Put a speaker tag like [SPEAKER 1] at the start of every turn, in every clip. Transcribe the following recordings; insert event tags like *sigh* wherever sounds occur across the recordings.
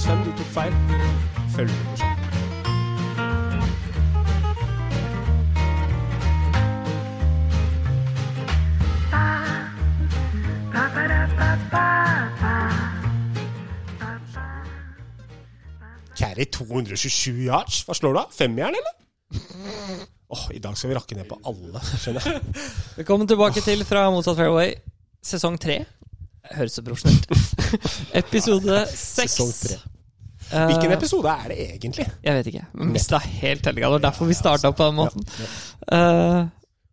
[SPEAKER 1] feil, følg med på skjermen. Carry 227 yards. Hva slår du av? Femjern, eller? Åh, I dag skal vi rakke ned på alle, skjønner jeg.
[SPEAKER 2] Velkommen tilbake til Fra motsatt fairway, sesong tre. Høres så profesjonelt
[SPEAKER 1] *laughs*
[SPEAKER 2] Episode seks.
[SPEAKER 1] Sesong tre.
[SPEAKER 2] Eh,
[SPEAKER 1] Hvilken episode er det egentlig?
[SPEAKER 2] Jeg vet ikke. Vi mista helt tellinga. Det var derfor vi starta på den måten. Eh,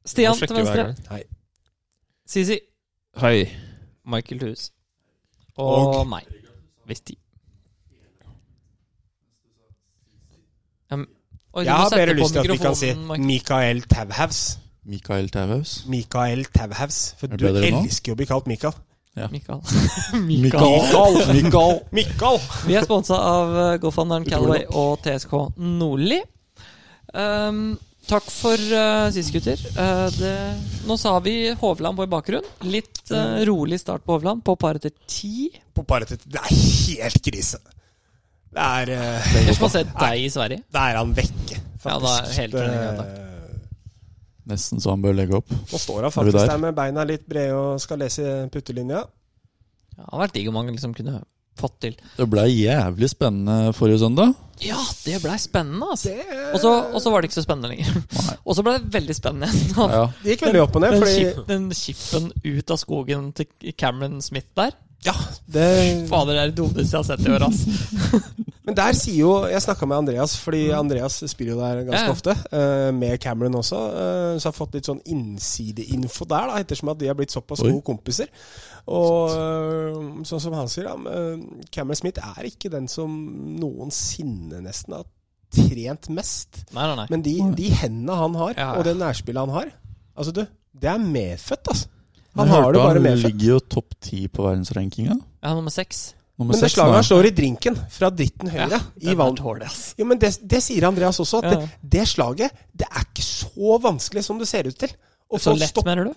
[SPEAKER 2] Stian til venstre.
[SPEAKER 1] Hei.
[SPEAKER 2] Sisi.
[SPEAKER 3] Hei.
[SPEAKER 2] Michael Thurus. Og,
[SPEAKER 1] Og-
[SPEAKER 2] meg. Hvis de Um, oi, du
[SPEAKER 1] Jeg
[SPEAKER 2] må
[SPEAKER 1] har
[SPEAKER 2] sette
[SPEAKER 1] bedre
[SPEAKER 2] på
[SPEAKER 1] lyst til at vi kan si
[SPEAKER 2] mikrofonen,
[SPEAKER 1] Mikael
[SPEAKER 2] Michael.
[SPEAKER 1] Tauhaus.
[SPEAKER 3] Mikael Tauhaus.
[SPEAKER 1] Mikael Tauhaus. For
[SPEAKER 3] Er det
[SPEAKER 1] du
[SPEAKER 3] bedre nå?
[SPEAKER 1] elsker jo å bli kalt Mikael.
[SPEAKER 2] Mikael.
[SPEAKER 3] Mikael. Mikael.
[SPEAKER 1] Mikael!
[SPEAKER 2] Vi er sponsa av eh, GoFunderen
[SPEAKER 1] Utrolig
[SPEAKER 2] Calaway og TSK Nordli. Ehm, takk for uh, sist, gutter. Eh, det, nå sa vi Hovland på i bakgrunn. Litt eh, rolig start på Hovland, på par etter ti.
[SPEAKER 1] På paret til Det er helt krise. Det er eh,
[SPEAKER 2] Ellers må man se deg i Sverige.
[SPEAKER 1] Da er han vekke, faktisk.
[SPEAKER 2] Ja, da er hele turneringen
[SPEAKER 1] Eh,
[SPEAKER 3] Nesten så han bør legge opp.
[SPEAKER 1] Nå står han
[SPEAKER 3] Er vi
[SPEAKER 1] faktisk
[SPEAKER 3] der?
[SPEAKER 1] der med beina litt brede og skal lese puttelinja.
[SPEAKER 2] Ja, det hadde vært digg om man liksom kunne fått til.
[SPEAKER 3] Det ble jævlig spennende forrige søndag.
[SPEAKER 2] Ja, det blei spennende, altså.
[SPEAKER 1] Det
[SPEAKER 2] Og så og så var det ikke så spennende lenger. *laughs* Og så ble det veldig spennende igjen.
[SPEAKER 3] Ja.
[SPEAKER 1] det gikk veldig opp og ned,
[SPEAKER 2] *laughs* Den,
[SPEAKER 1] fordi
[SPEAKER 2] skip, den skippen ut av skogen til Cameron Smith der.
[SPEAKER 1] Ja, det
[SPEAKER 2] Fader, det er det dummeste jeg har sett i år, ass.
[SPEAKER 1] Men der sier jo Jeg snakka med Andreas, fordi
[SPEAKER 3] Mm.
[SPEAKER 1] Andreas spiller jo der ganske
[SPEAKER 2] Ja, ja.
[SPEAKER 1] ofte. eh, med Cameron også. eh, så jeg har fått litt sånn innsideinfo der, da, ettersom at de har blitt såpass
[SPEAKER 3] Oi.
[SPEAKER 1] gode kompiser. Og eh, sånn som han sier, da, eh, Cameron Smith er ikke den som noensinne nesten har trent mest.
[SPEAKER 2] Nei, nei, nei.
[SPEAKER 1] Men de, de hendene han har,
[SPEAKER 2] Ja, ja.
[SPEAKER 1] og det nærspillet han har Altså, du, det er medfødt, altså.
[SPEAKER 3] Jeg
[SPEAKER 1] Han har
[SPEAKER 3] hørte
[SPEAKER 1] det bare
[SPEAKER 3] han
[SPEAKER 1] medfødt.
[SPEAKER 3] ligger jo topp ti på verdensrankinga.
[SPEAKER 2] Ja, nummer seks.
[SPEAKER 3] Nummer
[SPEAKER 1] Men det
[SPEAKER 3] seks
[SPEAKER 1] slaget
[SPEAKER 3] nå.
[SPEAKER 1] han slår i drinken, fra dritten høyre, i
[SPEAKER 2] valg.
[SPEAKER 1] vann Jo, men det, det sier Andreas også, at
[SPEAKER 2] Ja.
[SPEAKER 1] det, det slaget det er ikke så vanskelig som det ser ut til. Og
[SPEAKER 2] Så
[SPEAKER 1] folk
[SPEAKER 2] lett,
[SPEAKER 1] stopp-
[SPEAKER 2] mener du?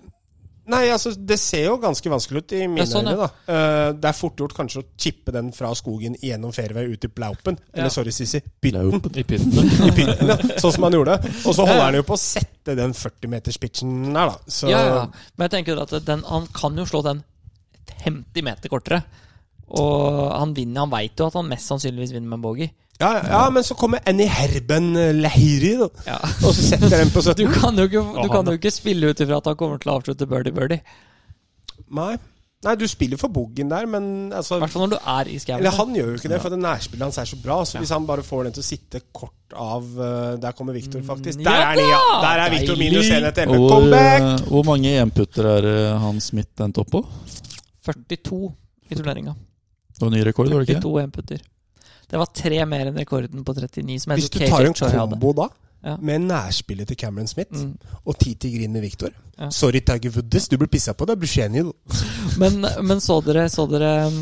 [SPEAKER 1] Nei, altså, Det ser jo ganske vanskelig ut i mine
[SPEAKER 2] Ja, sånn, ja.
[SPEAKER 1] øyne. da. Eh, det er fort gjort kanskje å chippe den fra skogen gjennom fairway ut i plaupen.
[SPEAKER 2] Ja.
[SPEAKER 1] Eller sorry, Sisi, bytten.
[SPEAKER 3] Laup.
[SPEAKER 4] I
[SPEAKER 3] *laughs*
[SPEAKER 4] pytten.
[SPEAKER 1] I pytten, ja. *laughs* Sånn som han gjorde. Og så
[SPEAKER 2] Ja.
[SPEAKER 1] holder han jo på å sette den 40-meterspitchen der, da. Så
[SPEAKER 2] Ja, ja. Men jeg tenker at den, han kan jo slå den 50 meter kortere. Og han vinner, han veit jo at han mest sannsynligvis vinner med en bogey.
[SPEAKER 1] Ja, ja, ja, men så kommer Annie Herben Leiri, da.
[SPEAKER 2] Ja.
[SPEAKER 1] Og så setter den
[SPEAKER 2] *laughs*
[SPEAKER 1] på
[SPEAKER 2] Du
[SPEAKER 1] 17.
[SPEAKER 2] kan jo ikke, du
[SPEAKER 4] han,
[SPEAKER 2] kan
[SPEAKER 4] da.
[SPEAKER 2] jo ikke spille ut ifra at han kommer til å avslutte birdie-birdie.
[SPEAKER 1] Nei. Nei, du spiller for boogen der, men altså
[SPEAKER 2] I hvert fall når du er i skauen.
[SPEAKER 1] Eller han gjør jo ikke det, for det nærspillet hans er så bra. Så hvis han bare får den til å sitte kort av eh, Der kommer Victor, faktisk.
[SPEAKER 2] Mm,
[SPEAKER 1] Der
[SPEAKER 2] ja
[SPEAKER 1] er den, ja!
[SPEAKER 2] da!
[SPEAKER 1] Der er Victor
[SPEAKER 2] Deilig!
[SPEAKER 1] minus 1 etter
[SPEAKER 3] Og
[SPEAKER 1] 11.
[SPEAKER 3] Hvor,
[SPEAKER 1] Comeback!
[SPEAKER 3] eh, hvor mange EM-putter er eh, han Smith endt opp på?
[SPEAKER 2] 42 i turneringa.
[SPEAKER 3] Det var ny rekord, var det
[SPEAKER 2] 42
[SPEAKER 3] ikke?
[SPEAKER 2] EM-putter. Det var tre mer enn rekorden på 39, som jeg
[SPEAKER 1] Hvis du
[SPEAKER 2] tror KK
[SPEAKER 1] tar en
[SPEAKER 2] Choi hadde.
[SPEAKER 1] kombo da,
[SPEAKER 2] Ja.
[SPEAKER 1] med nærspillet til Cameron Smith
[SPEAKER 2] Mm.
[SPEAKER 1] og ti til grin med Victor
[SPEAKER 2] Ja.
[SPEAKER 1] Sorry, Tiger Woods, du blir pissa på, da blir du genial.
[SPEAKER 2] Men, men så dere, så dere um,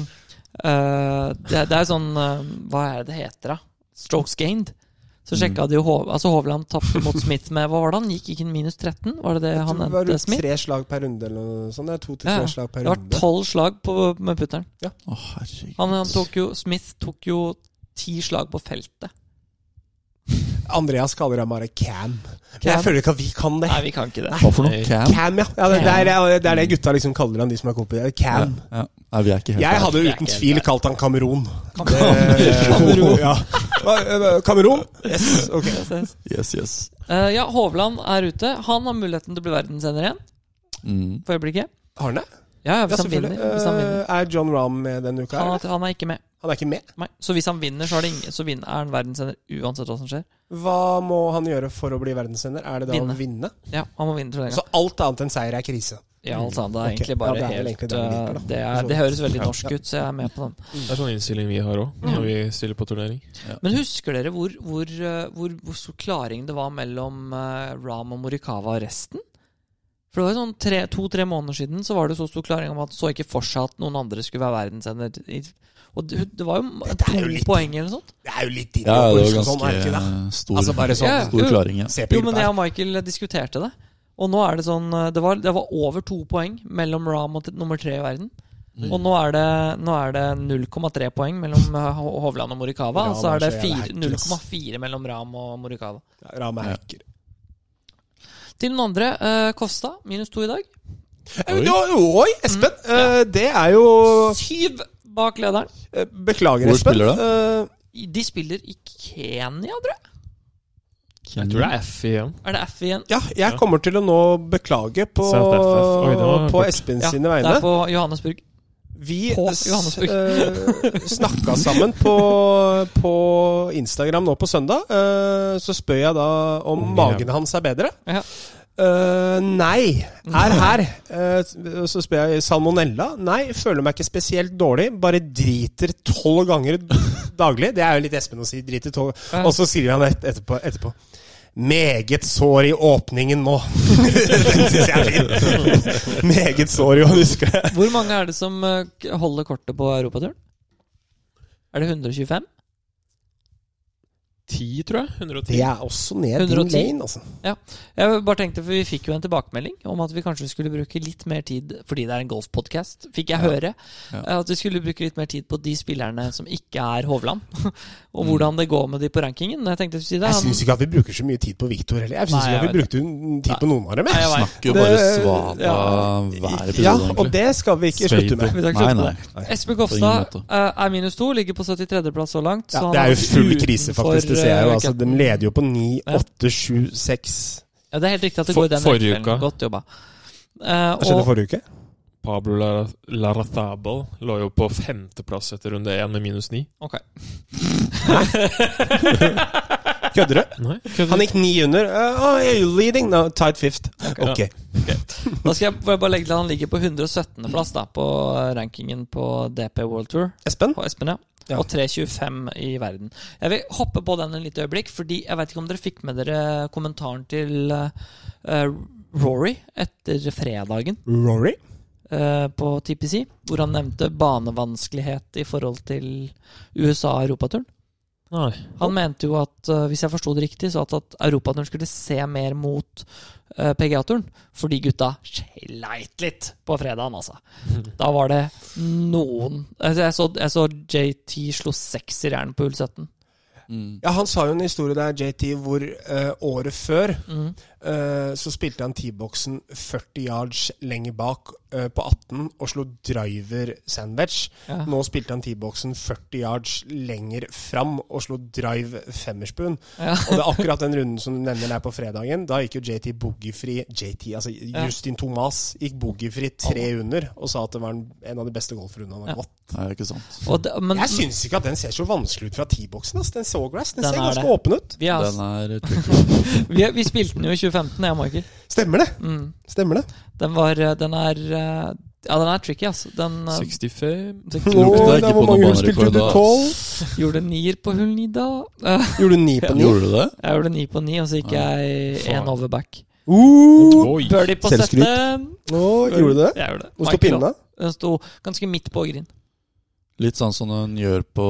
[SPEAKER 2] eh, det, det er jo sånn eh, Hva er det det heter, da? Strokes gained.
[SPEAKER 1] Mm.
[SPEAKER 2] Så sjekka de jo Hov, altså Hovland tapte mot Smith med Hva var det han gikk? Gikk han minus 13? Var det det han
[SPEAKER 1] Det var
[SPEAKER 2] endte
[SPEAKER 1] rundt
[SPEAKER 2] Smith?
[SPEAKER 1] tre slag per runde eller noe sånt. Det er to til
[SPEAKER 2] Ja,
[SPEAKER 1] tre
[SPEAKER 2] ja.
[SPEAKER 1] slag per
[SPEAKER 2] Det var
[SPEAKER 1] runde.
[SPEAKER 2] tolv slag på, med putteren.
[SPEAKER 3] Å, herregud.
[SPEAKER 2] Han, han tok jo, Smith tok jo ti slag på feltet.
[SPEAKER 1] Andreas kaller ham bare Cam.
[SPEAKER 2] Cam.
[SPEAKER 1] Jeg føler ikke at vi kan det.
[SPEAKER 2] Nei, vi kan ikke det.
[SPEAKER 3] Hva for noe? Cam?
[SPEAKER 1] Cam, ja. ja det, det, er, det er det gutta liksom kaller han, de som er kompiser.
[SPEAKER 3] Ja,
[SPEAKER 1] Cam.
[SPEAKER 3] ja. Nei, vi er ikke helt
[SPEAKER 1] Jeg
[SPEAKER 3] der.
[SPEAKER 1] hadde
[SPEAKER 2] Det er
[SPEAKER 1] uten
[SPEAKER 2] ikke
[SPEAKER 1] tvil
[SPEAKER 2] helt
[SPEAKER 1] kalt han Kamerun. Kamerun. Ja. Hva, eh, Kamerun? Yes, ok.
[SPEAKER 3] Yes, yes.
[SPEAKER 2] Eh, ja, Hovland er ute. Han har muligheten til å bli verdensener igjen
[SPEAKER 3] Mm.
[SPEAKER 2] for øyeblikket.
[SPEAKER 1] Har han det?
[SPEAKER 2] Ja, ja,
[SPEAKER 1] Ja,
[SPEAKER 2] hvis han
[SPEAKER 1] selvfølgelig.
[SPEAKER 2] vinner. Hvis han, vinner.
[SPEAKER 1] Eh, Er John Rahm med denne uka?
[SPEAKER 2] Han,
[SPEAKER 1] her?
[SPEAKER 2] er, han er ikke med.
[SPEAKER 1] Han er ikke med.
[SPEAKER 2] Nei. Så hvis han vinner, så er, det ingen, så vinner, er han verdensener uansett hva som skjer.
[SPEAKER 1] Hva må han gjøre for å bli verdensender? Er det da
[SPEAKER 2] Vinne.
[SPEAKER 1] å vinne?
[SPEAKER 2] Ja, han må vinne turneringa.
[SPEAKER 1] Så alt annet enn seier er krise.
[SPEAKER 2] Ja, altså, det er
[SPEAKER 1] Ok,
[SPEAKER 2] egentlig bare
[SPEAKER 1] ja, det er vel
[SPEAKER 2] helt
[SPEAKER 1] egentlig det vi liker, da. For
[SPEAKER 2] uh, det,
[SPEAKER 1] så
[SPEAKER 2] er,
[SPEAKER 1] vidt.
[SPEAKER 2] det høres veldig
[SPEAKER 1] Ja.
[SPEAKER 2] norsk ut, så jeg er med på den.
[SPEAKER 4] Det er sånn innstilling vi har òg, når vi stiller på turnering.
[SPEAKER 2] Men husker dere hvor, hvor, uh, hvor, hvor stor klaring det var mellom uh, Ram og Morikawa og resten? For det var jo sånn tre, to-tre måneder siden så var det så stor klaring om at så ikke for seg at noen andre skulle være verdensener. i- Og det, det var jo
[SPEAKER 1] Dette er jo
[SPEAKER 2] to
[SPEAKER 1] litt-
[SPEAKER 2] poeng eller noe sånt.
[SPEAKER 1] Det er jo litt
[SPEAKER 3] Ja,
[SPEAKER 1] innenfor,
[SPEAKER 3] det var
[SPEAKER 1] liksom, sånn, er det
[SPEAKER 3] ganske
[SPEAKER 1] ikke det?
[SPEAKER 3] eh, stor,
[SPEAKER 1] Altså, bare sånn,
[SPEAKER 2] Ja.
[SPEAKER 3] stor klaring. Ja.
[SPEAKER 1] Se på
[SPEAKER 2] Jo, men jeg
[SPEAKER 1] Gylberg.
[SPEAKER 2] og Michael diskuterte eh, det. Og nå er det sånn uh, Det var, det var over to poeng mellom Ram og t nummer tre i verden.
[SPEAKER 3] Mm.
[SPEAKER 2] Og nå er det, nå er det 0,3 poeng mellom eh, Ho- Hovland og Morikawa.
[SPEAKER 1] Ram
[SPEAKER 2] Og så er det
[SPEAKER 1] er så jævla
[SPEAKER 2] fire-
[SPEAKER 1] hack, ass.
[SPEAKER 2] 0,4 mellom Ram og Morikawa.
[SPEAKER 1] Ja, Ram er
[SPEAKER 3] Ja.
[SPEAKER 1] hacker.
[SPEAKER 2] Til den andre, eh, Kosta. Minus to i dag.
[SPEAKER 1] Eh, da- Oi, Espen!
[SPEAKER 2] Mm.
[SPEAKER 1] eh, Det er jo
[SPEAKER 2] Syv bak lederen.
[SPEAKER 1] eh, Beklager,
[SPEAKER 3] Hvor
[SPEAKER 1] Espen. Eh,
[SPEAKER 3] spiller
[SPEAKER 1] det?
[SPEAKER 2] De spiller i Kenya, tror jeg.
[SPEAKER 4] Jeg tror det er F igjen.
[SPEAKER 2] Er det F igjen?
[SPEAKER 1] Ja, jeg
[SPEAKER 4] Ja.
[SPEAKER 1] kommer til å nå beklage på,
[SPEAKER 4] South FF. Oi, det var
[SPEAKER 1] på
[SPEAKER 4] kort.
[SPEAKER 1] Espen
[SPEAKER 2] Ja,
[SPEAKER 1] sine
[SPEAKER 2] det
[SPEAKER 1] vegne.
[SPEAKER 2] er på Johannesburg.
[SPEAKER 1] Vi
[SPEAKER 2] På
[SPEAKER 1] s-
[SPEAKER 2] Johannesburg.
[SPEAKER 1] eh, snakka sammen på, på Instagram nå på søndag. Eh, så spør jeg da om
[SPEAKER 4] Om
[SPEAKER 1] magen
[SPEAKER 4] William.
[SPEAKER 1] hans er bedre.
[SPEAKER 2] Ja.
[SPEAKER 1] Eh, nei, er her. Eh, så spør jeg salmonella. Nei, føler meg ikke spesielt dårlig. Bare driter tolv ganger daglig. Det er jo litt Espen å si. Driter tolv.
[SPEAKER 2] Ja.
[SPEAKER 1] Og så sier han et, etterpå, etterpå Meget sår i åpningen nå. *laughs* Den syns jeg er fin. Meget sår i å huske.
[SPEAKER 2] Hvor mange er det som eh, k- holder kortet på europaturen? Er det 125?
[SPEAKER 4] 10, tror jeg. 110.
[SPEAKER 1] Det er også ned din
[SPEAKER 2] 110.
[SPEAKER 1] lane, altså.
[SPEAKER 2] Jeg bare tenkte, for Vi fikk jo en tilbakemelding om at vi kanskje skulle bruke litt mer tid fordi det er en golfpodkast, fikk jeg høre.
[SPEAKER 3] Ja.
[SPEAKER 2] eh, At vi skulle bruke litt mer tid på de spillerne som ikke er Hovland. *laughs* Og hvordan det går med de på rankingen. Jeg tenkte å si det.
[SPEAKER 1] Mm. Jeg
[SPEAKER 2] han-
[SPEAKER 1] syns ikke at vi bruker så mye tid på Victor heller. Jeg syns ikke
[SPEAKER 2] Nei,
[SPEAKER 1] at
[SPEAKER 2] jeg
[SPEAKER 1] vi brukte en tid på noen av dem.
[SPEAKER 2] Nei,
[SPEAKER 1] jeg.
[SPEAKER 2] jeg vet.
[SPEAKER 3] Snakker jo bare
[SPEAKER 1] Det-
[SPEAKER 3] svada
[SPEAKER 1] ja.
[SPEAKER 3] hver episode,
[SPEAKER 1] Ja,
[SPEAKER 3] egentlig.
[SPEAKER 1] og det skal vi ikke slutte med.
[SPEAKER 2] Vi tar ikke
[SPEAKER 3] Nei,
[SPEAKER 2] slutt på
[SPEAKER 3] nei.
[SPEAKER 2] Espen
[SPEAKER 3] ingen
[SPEAKER 2] Kofstad
[SPEAKER 3] måte.
[SPEAKER 2] eh, er minus to, ligger på 73.-plass så langt.
[SPEAKER 1] Ja,
[SPEAKER 2] så han
[SPEAKER 1] det er jo
[SPEAKER 2] vært
[SPEAKER 1] full
[SPEAKER 2] utenfor,
[SPEAKER 1] krise, faktisk. Det ser jeg jo.
[SPEAKER 2] eh,
[SPEAKER 1] Altså, de
[SPEAKER 2] raketten.
[SPEAKER 1] leder jo på 9,
[SPEAKER 2] Ja.
[SPEAKER 1] 8, 7, 6
[SPEAKER 2] Ja, Det er helt riktig at det
[SPEAKER 4] For-
[SPEAKER 2] går i den
[SPEAKER 4] forrige
[SPEAKER 2] rekkefølgen.
[SPEAKER 4] uka.
[SPEAKER 2] Godt jobba. Eh,
[SPEAKER 1] Hva skjedde
[SPEAKER 2] og
[SPEAKER 1] forrige uke?
[SPEAKER 4] Pablo Lara- Larrazabal lå jo på femteplass etter runde én med minus ni.
[SPEAKER 2] Ok.
[SPEAKER 1] Kødder du?
[SPEAKER 4] Nei,
[SPEAKER 1] Han gikk ni under. Uh, oh, are you leading? No, tight fifth. Ok.
[SPEAKER 2] Da skal jeg får jeg bare legge til at han ligger på 117. plass da, på rankingen på DP World Tour
[SPEAKER 1] Espen?
[SPEAKER 2] på Espen, ja.
[SPEAKER 1] Ja.
[SPEAKER 2] Og 3.25 i verden. Jeg vil hoppe på den et lite øyeblikk, fordi jeg vet ikke om dere fikk med dere kommentaren til eh, Rory etter fredagen
[SPEAKER 1] Rory?
[SPEAKER 2] eh, på TPC, hvor han nevnte banevanskelighet i forhold til USA-europaturen.
[SPEAKER 4] Nei.
[SPEAKER 2] Han mente jo at, eh, hvis jeg forsto det riktig, så at, at europaturen skulle se mer mot eh, PGA-turen. Fordi gutta sleit litt på fredagen, altså. Da var det noen altså, jeg, så, jeg så JT slo seks i jern på hull 17.
[SPEAKER 3] Mm.
[SPEAKER 1] Ja, han sa jo en historie der, JT, hvor eh, året før
[SPEAKER 2] Mm.
[SPEAKER 1] eh, så spilte han T-boksen 40 yards lenger bak eh, på 18 og slo driver sandwich.
[SPEAKER 2] Ja.
[SPEAKER 1] Nå spilte han T-boksen 40 yards lenger fram og slo drive femmerspoon.
[SPEAKER 2] Ja.
[SPEAKER 1] Og det er akkurat den runden som du nevner der på fredagen. Da gikk jo JT boogiefri JT, altså Justin Thomas gikk boogiefri tre under og sa at det var en- en av de beste golfrundene han
[SPEAKER 2] Ja.
[SPEAKER 1] har gått.
[SPEAKER 3] Nei, ikke sant.
[SPEAKER 2] Og det, men
[SPEAKER 1] Jeg syns ikke at den ser så vanskelig ut fra T-boksen. ass. Den sawgrass, den,
[SPEAKER 2] Den
[SPEAKER 1] ser
[SPEAKER 2] er
[SPEAKER 1] ganske
[SPEAKER 2] det.
[SPEAKER 1] åpen ut.
[SPEAKER 2] vi, er,
[SPEAKER 1] *laughs*
[SPEAKER 3] Den er tricky.
[SPEAKER 2] vi, er, vi spilte den jo i 2015, jeg og Michael.
[SPEAKER 1] Stemmer det?
[SPEAKER 2] Mm.
[SPEAKER 1] Stemmer det?
[SPEAKER 2] Den var eh, Den er eh, Ja, den er tricky, altså. Den eh,
[SPEAKER 4] 65
[SPEAKER 1] Å,
[SPEAKER 3] Lukta ikke
[SPEAKER 1] der
[SPEAKER 3] på
[SPEAKER 1] hvor mange hull
[SPEAKER 3] noen
[SPEAKER 1] spilte du?
[SPEAKER 3] banerekord, da.
[SPEAKER 1] Tolv?
[SPEAKER 2] gjorde nier på hull ni da. *laughs* Eh,
[SPEAKER 1] Gjorde du ni
[SPEAKER 3] *laughs*
[SPEAKER 1] på ni?
[SPEAKER 3] Gjorde du det?
[SPEAKER 2] Jeg gjorde ni på ni, og så gikk jeg
[SPEAKER 4] Faen.
[SPEAKER 2] én over back.
[SPEAKER 1] Uh,
[SPEAKER 4] Oi!
[SPEAKER 2] Birdie på
[SPEAKER 1] Selvskryt.
[SPEAKER 2] sjette.
[SPEAKER 1] Å, gjorde du det?
[SPEAKER 2] Jeg gjorde det.
[SPEAKER 1] Hvor sto
[SPEAKER 2] Michael også.
[SPEAKER 1] pinnene?
[SPEAKER 2] Den sto ganske midt på green.
[SPEAKER 3] Litt sånn som hun gjør på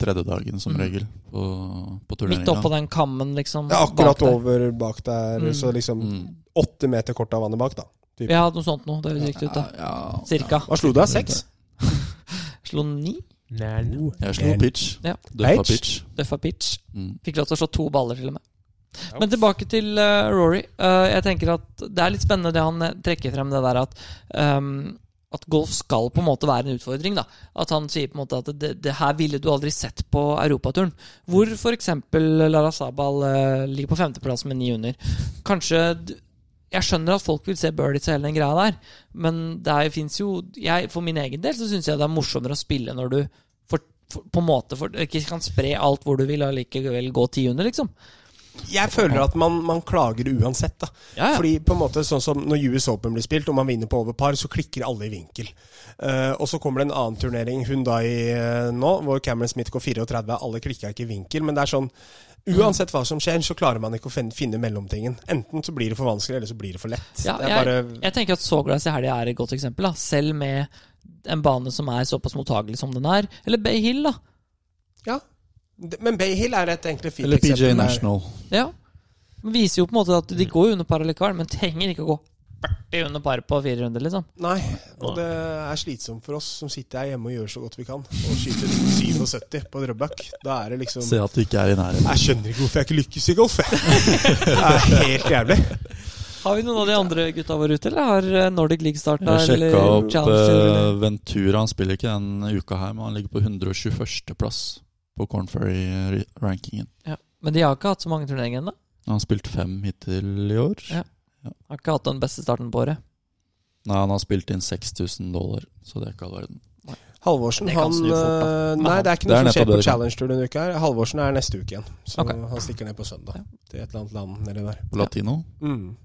[SPEAKER 3] tredjedagen,
[SPEAKER 1] Mm.
[SPEAKER 3] som regel, på, på
[SPEAKER 2] Midt
[SPEAKER 3] turneringa.
[SPEAKER 2] oppå den kammen, liksom.
[SPEAKER 1] Ja, akkurat
[SPEAKER 2] bak der.
[SPEAKER 1] over bak der,
[SPEAKER 2] Mm.
[SPEAKER 1] så liksom
[SPEAKER 3] Mm.
[SPEAKER 1] åtte meter kort av vannet bak, da.
[SPEAKER 2] Vi har hatt noe sånt nå. Det høres riktig ut, da.
[SPEAKER 3] Ja, ja.
[SPEAKER 2] Cirka.
[SPEAKER 1] Hva slo du av? Seks?
[SPEAKER 2] Slo ni.
[SPEAKER 4] Nei, nei.
[SPEAKER 3] Jeg slo pitch.
[SPEAKER 2] Ja.
[SPEAKER 3] Døffa
[SPEAKER 1] Pitch?
[SPEAKER 3] pitch.
[SPEAKER 2] Døffa pitch.
[SPEAKER 3] Mm.
[SPEAKER 2] Fikk lov til å slå to baller, til og med. Men tilbake til eh, Rory. Eh, jeg tenker at Det er litt spennende det han eh, trekker frem, det der at ehm, at golf skal på en måte være en utfordring. da At han sier på en måte at det, det her ville du aldri sett på europaturen. Hvor f.eks. Lara Sabal eh, ligger på femteplass med ni under. Kanskje d- Jeg skjønner at folk vil se birdies og hele den greia der, men det fins jo jeg, For min egen del så syns jeg det er morsommere å spille når du får- får- på en måte får- ikke kan spre alt hvor du vil, og likevel gå ti under, liksom.
[SPEAKER 1] Jeg føler at man, man klager uansett, da.
[SPEAKER 2] Ja, ja.
[SPEAKER 1] Fordi på en måte sånn som når US Open blir spilt, og man vinner på over par, så klikker alle i vinkel. Eh, og så kommer det en annen turnering, Hundai nå, hvor Cameron Smith går 34. Alle klikka ikke i vinkel, men det er sånn Uansett hva som skjer, så klarer man ikke å fin- finne mellomtingen. Enten så blir det for vanskelig, eller så blir det for lett.
[SPEAKER 2] Ja,
[SPEAKER 1] det er
[SPEAKER 2] jeg-
[SPEAKER 1] bare
[SPEAKER 2] Jeg tenker at Sawgrass i helga er et godt eksempel. da Selv med en bane som er såpass mottagelig som den er. Eller Bay Hill, da.
[SPEAKER 1] Ja. D- Men Bay Hill er et egentlig fint
[SPEAKER 3] Eller PJ
[SPEAKER 1] eksempel der.
[SPEAKER 3] National.
[SPEAKER 2] Ja. Den Viser jo på en måte at de går jo under par allikevel, men trenger ikke å gå 40 under par på fire runder, liksom.
[SPEAKER 1] Nei, og det er slitsomt for oss som sitter her hjemme og gjør så godt vi kan, og skyter 77 på Drøbak. Da er det liksom
[SPEAKER 3] Se at du ikke er i nærheten.
[SPEAKER 1] Jeg skjønner ikke hvorfor jeg ikke lykkes i golf, jeg. Det er helt jævlig.
[SPEAKER 2] Har vi noen av de andre gutta våre ute, eller har eh, Nordic League starta?
[SPEAKER 3] Jeg
[SPEAKER 2] eller
[SPEAKER 3] sjekka opp
[SPEAKER 2] Challenger, eller?
[SPEAKER 3] eh, Ventura. Han spiller ikke den uka her, men han ligger på 121.-plass på Corn Ferry-rankingen.
[SPEAKER 2] Men de har ikke hatt så mange turneringer ennå.
[SPEAKER 3] Han har spilt fem hittil i år.
[SPEAKER 2] Ja. Har ikke hatt den beste starten på året.
[SPEAKER 3] Nei, han har spilt inn 6000 dollar, så det er ikke all verden.
[SPEAKER 1] Halvorsen,
[SPEAKER 2] Det kan
[SPEAKER 1] han
[SPEAKER 2] snu fort, da.
[SPEAKER 1] eh,
[SPEAKER 2] Men
[SPEAKER 1] Nei,
[SPEAKER 2] han-
[SPEAKER 1] det er ikke
[SPEAKER 3] Det
[SPEAKER 1] noe
[SPEAKER 3] er
[SPEAKER 1] som skjer
[SPEAKER 3] nettopp
[SPEAKER 1] på
[SPEAKER 3] det. liksom.
[SPEAKER 1] Challenge Tour denne uka. her. Halvorsen er neste uke igjen, så
[SPEAKER 2] Ok.
[SPEAKER 1] han stikker ned på søndag
[SPEAKER 2] Ja.
[SPEAKER 1] til et eller annet land nedi der.
[SPEAKER 3] På latino?
[SPEAKER 1] Mm.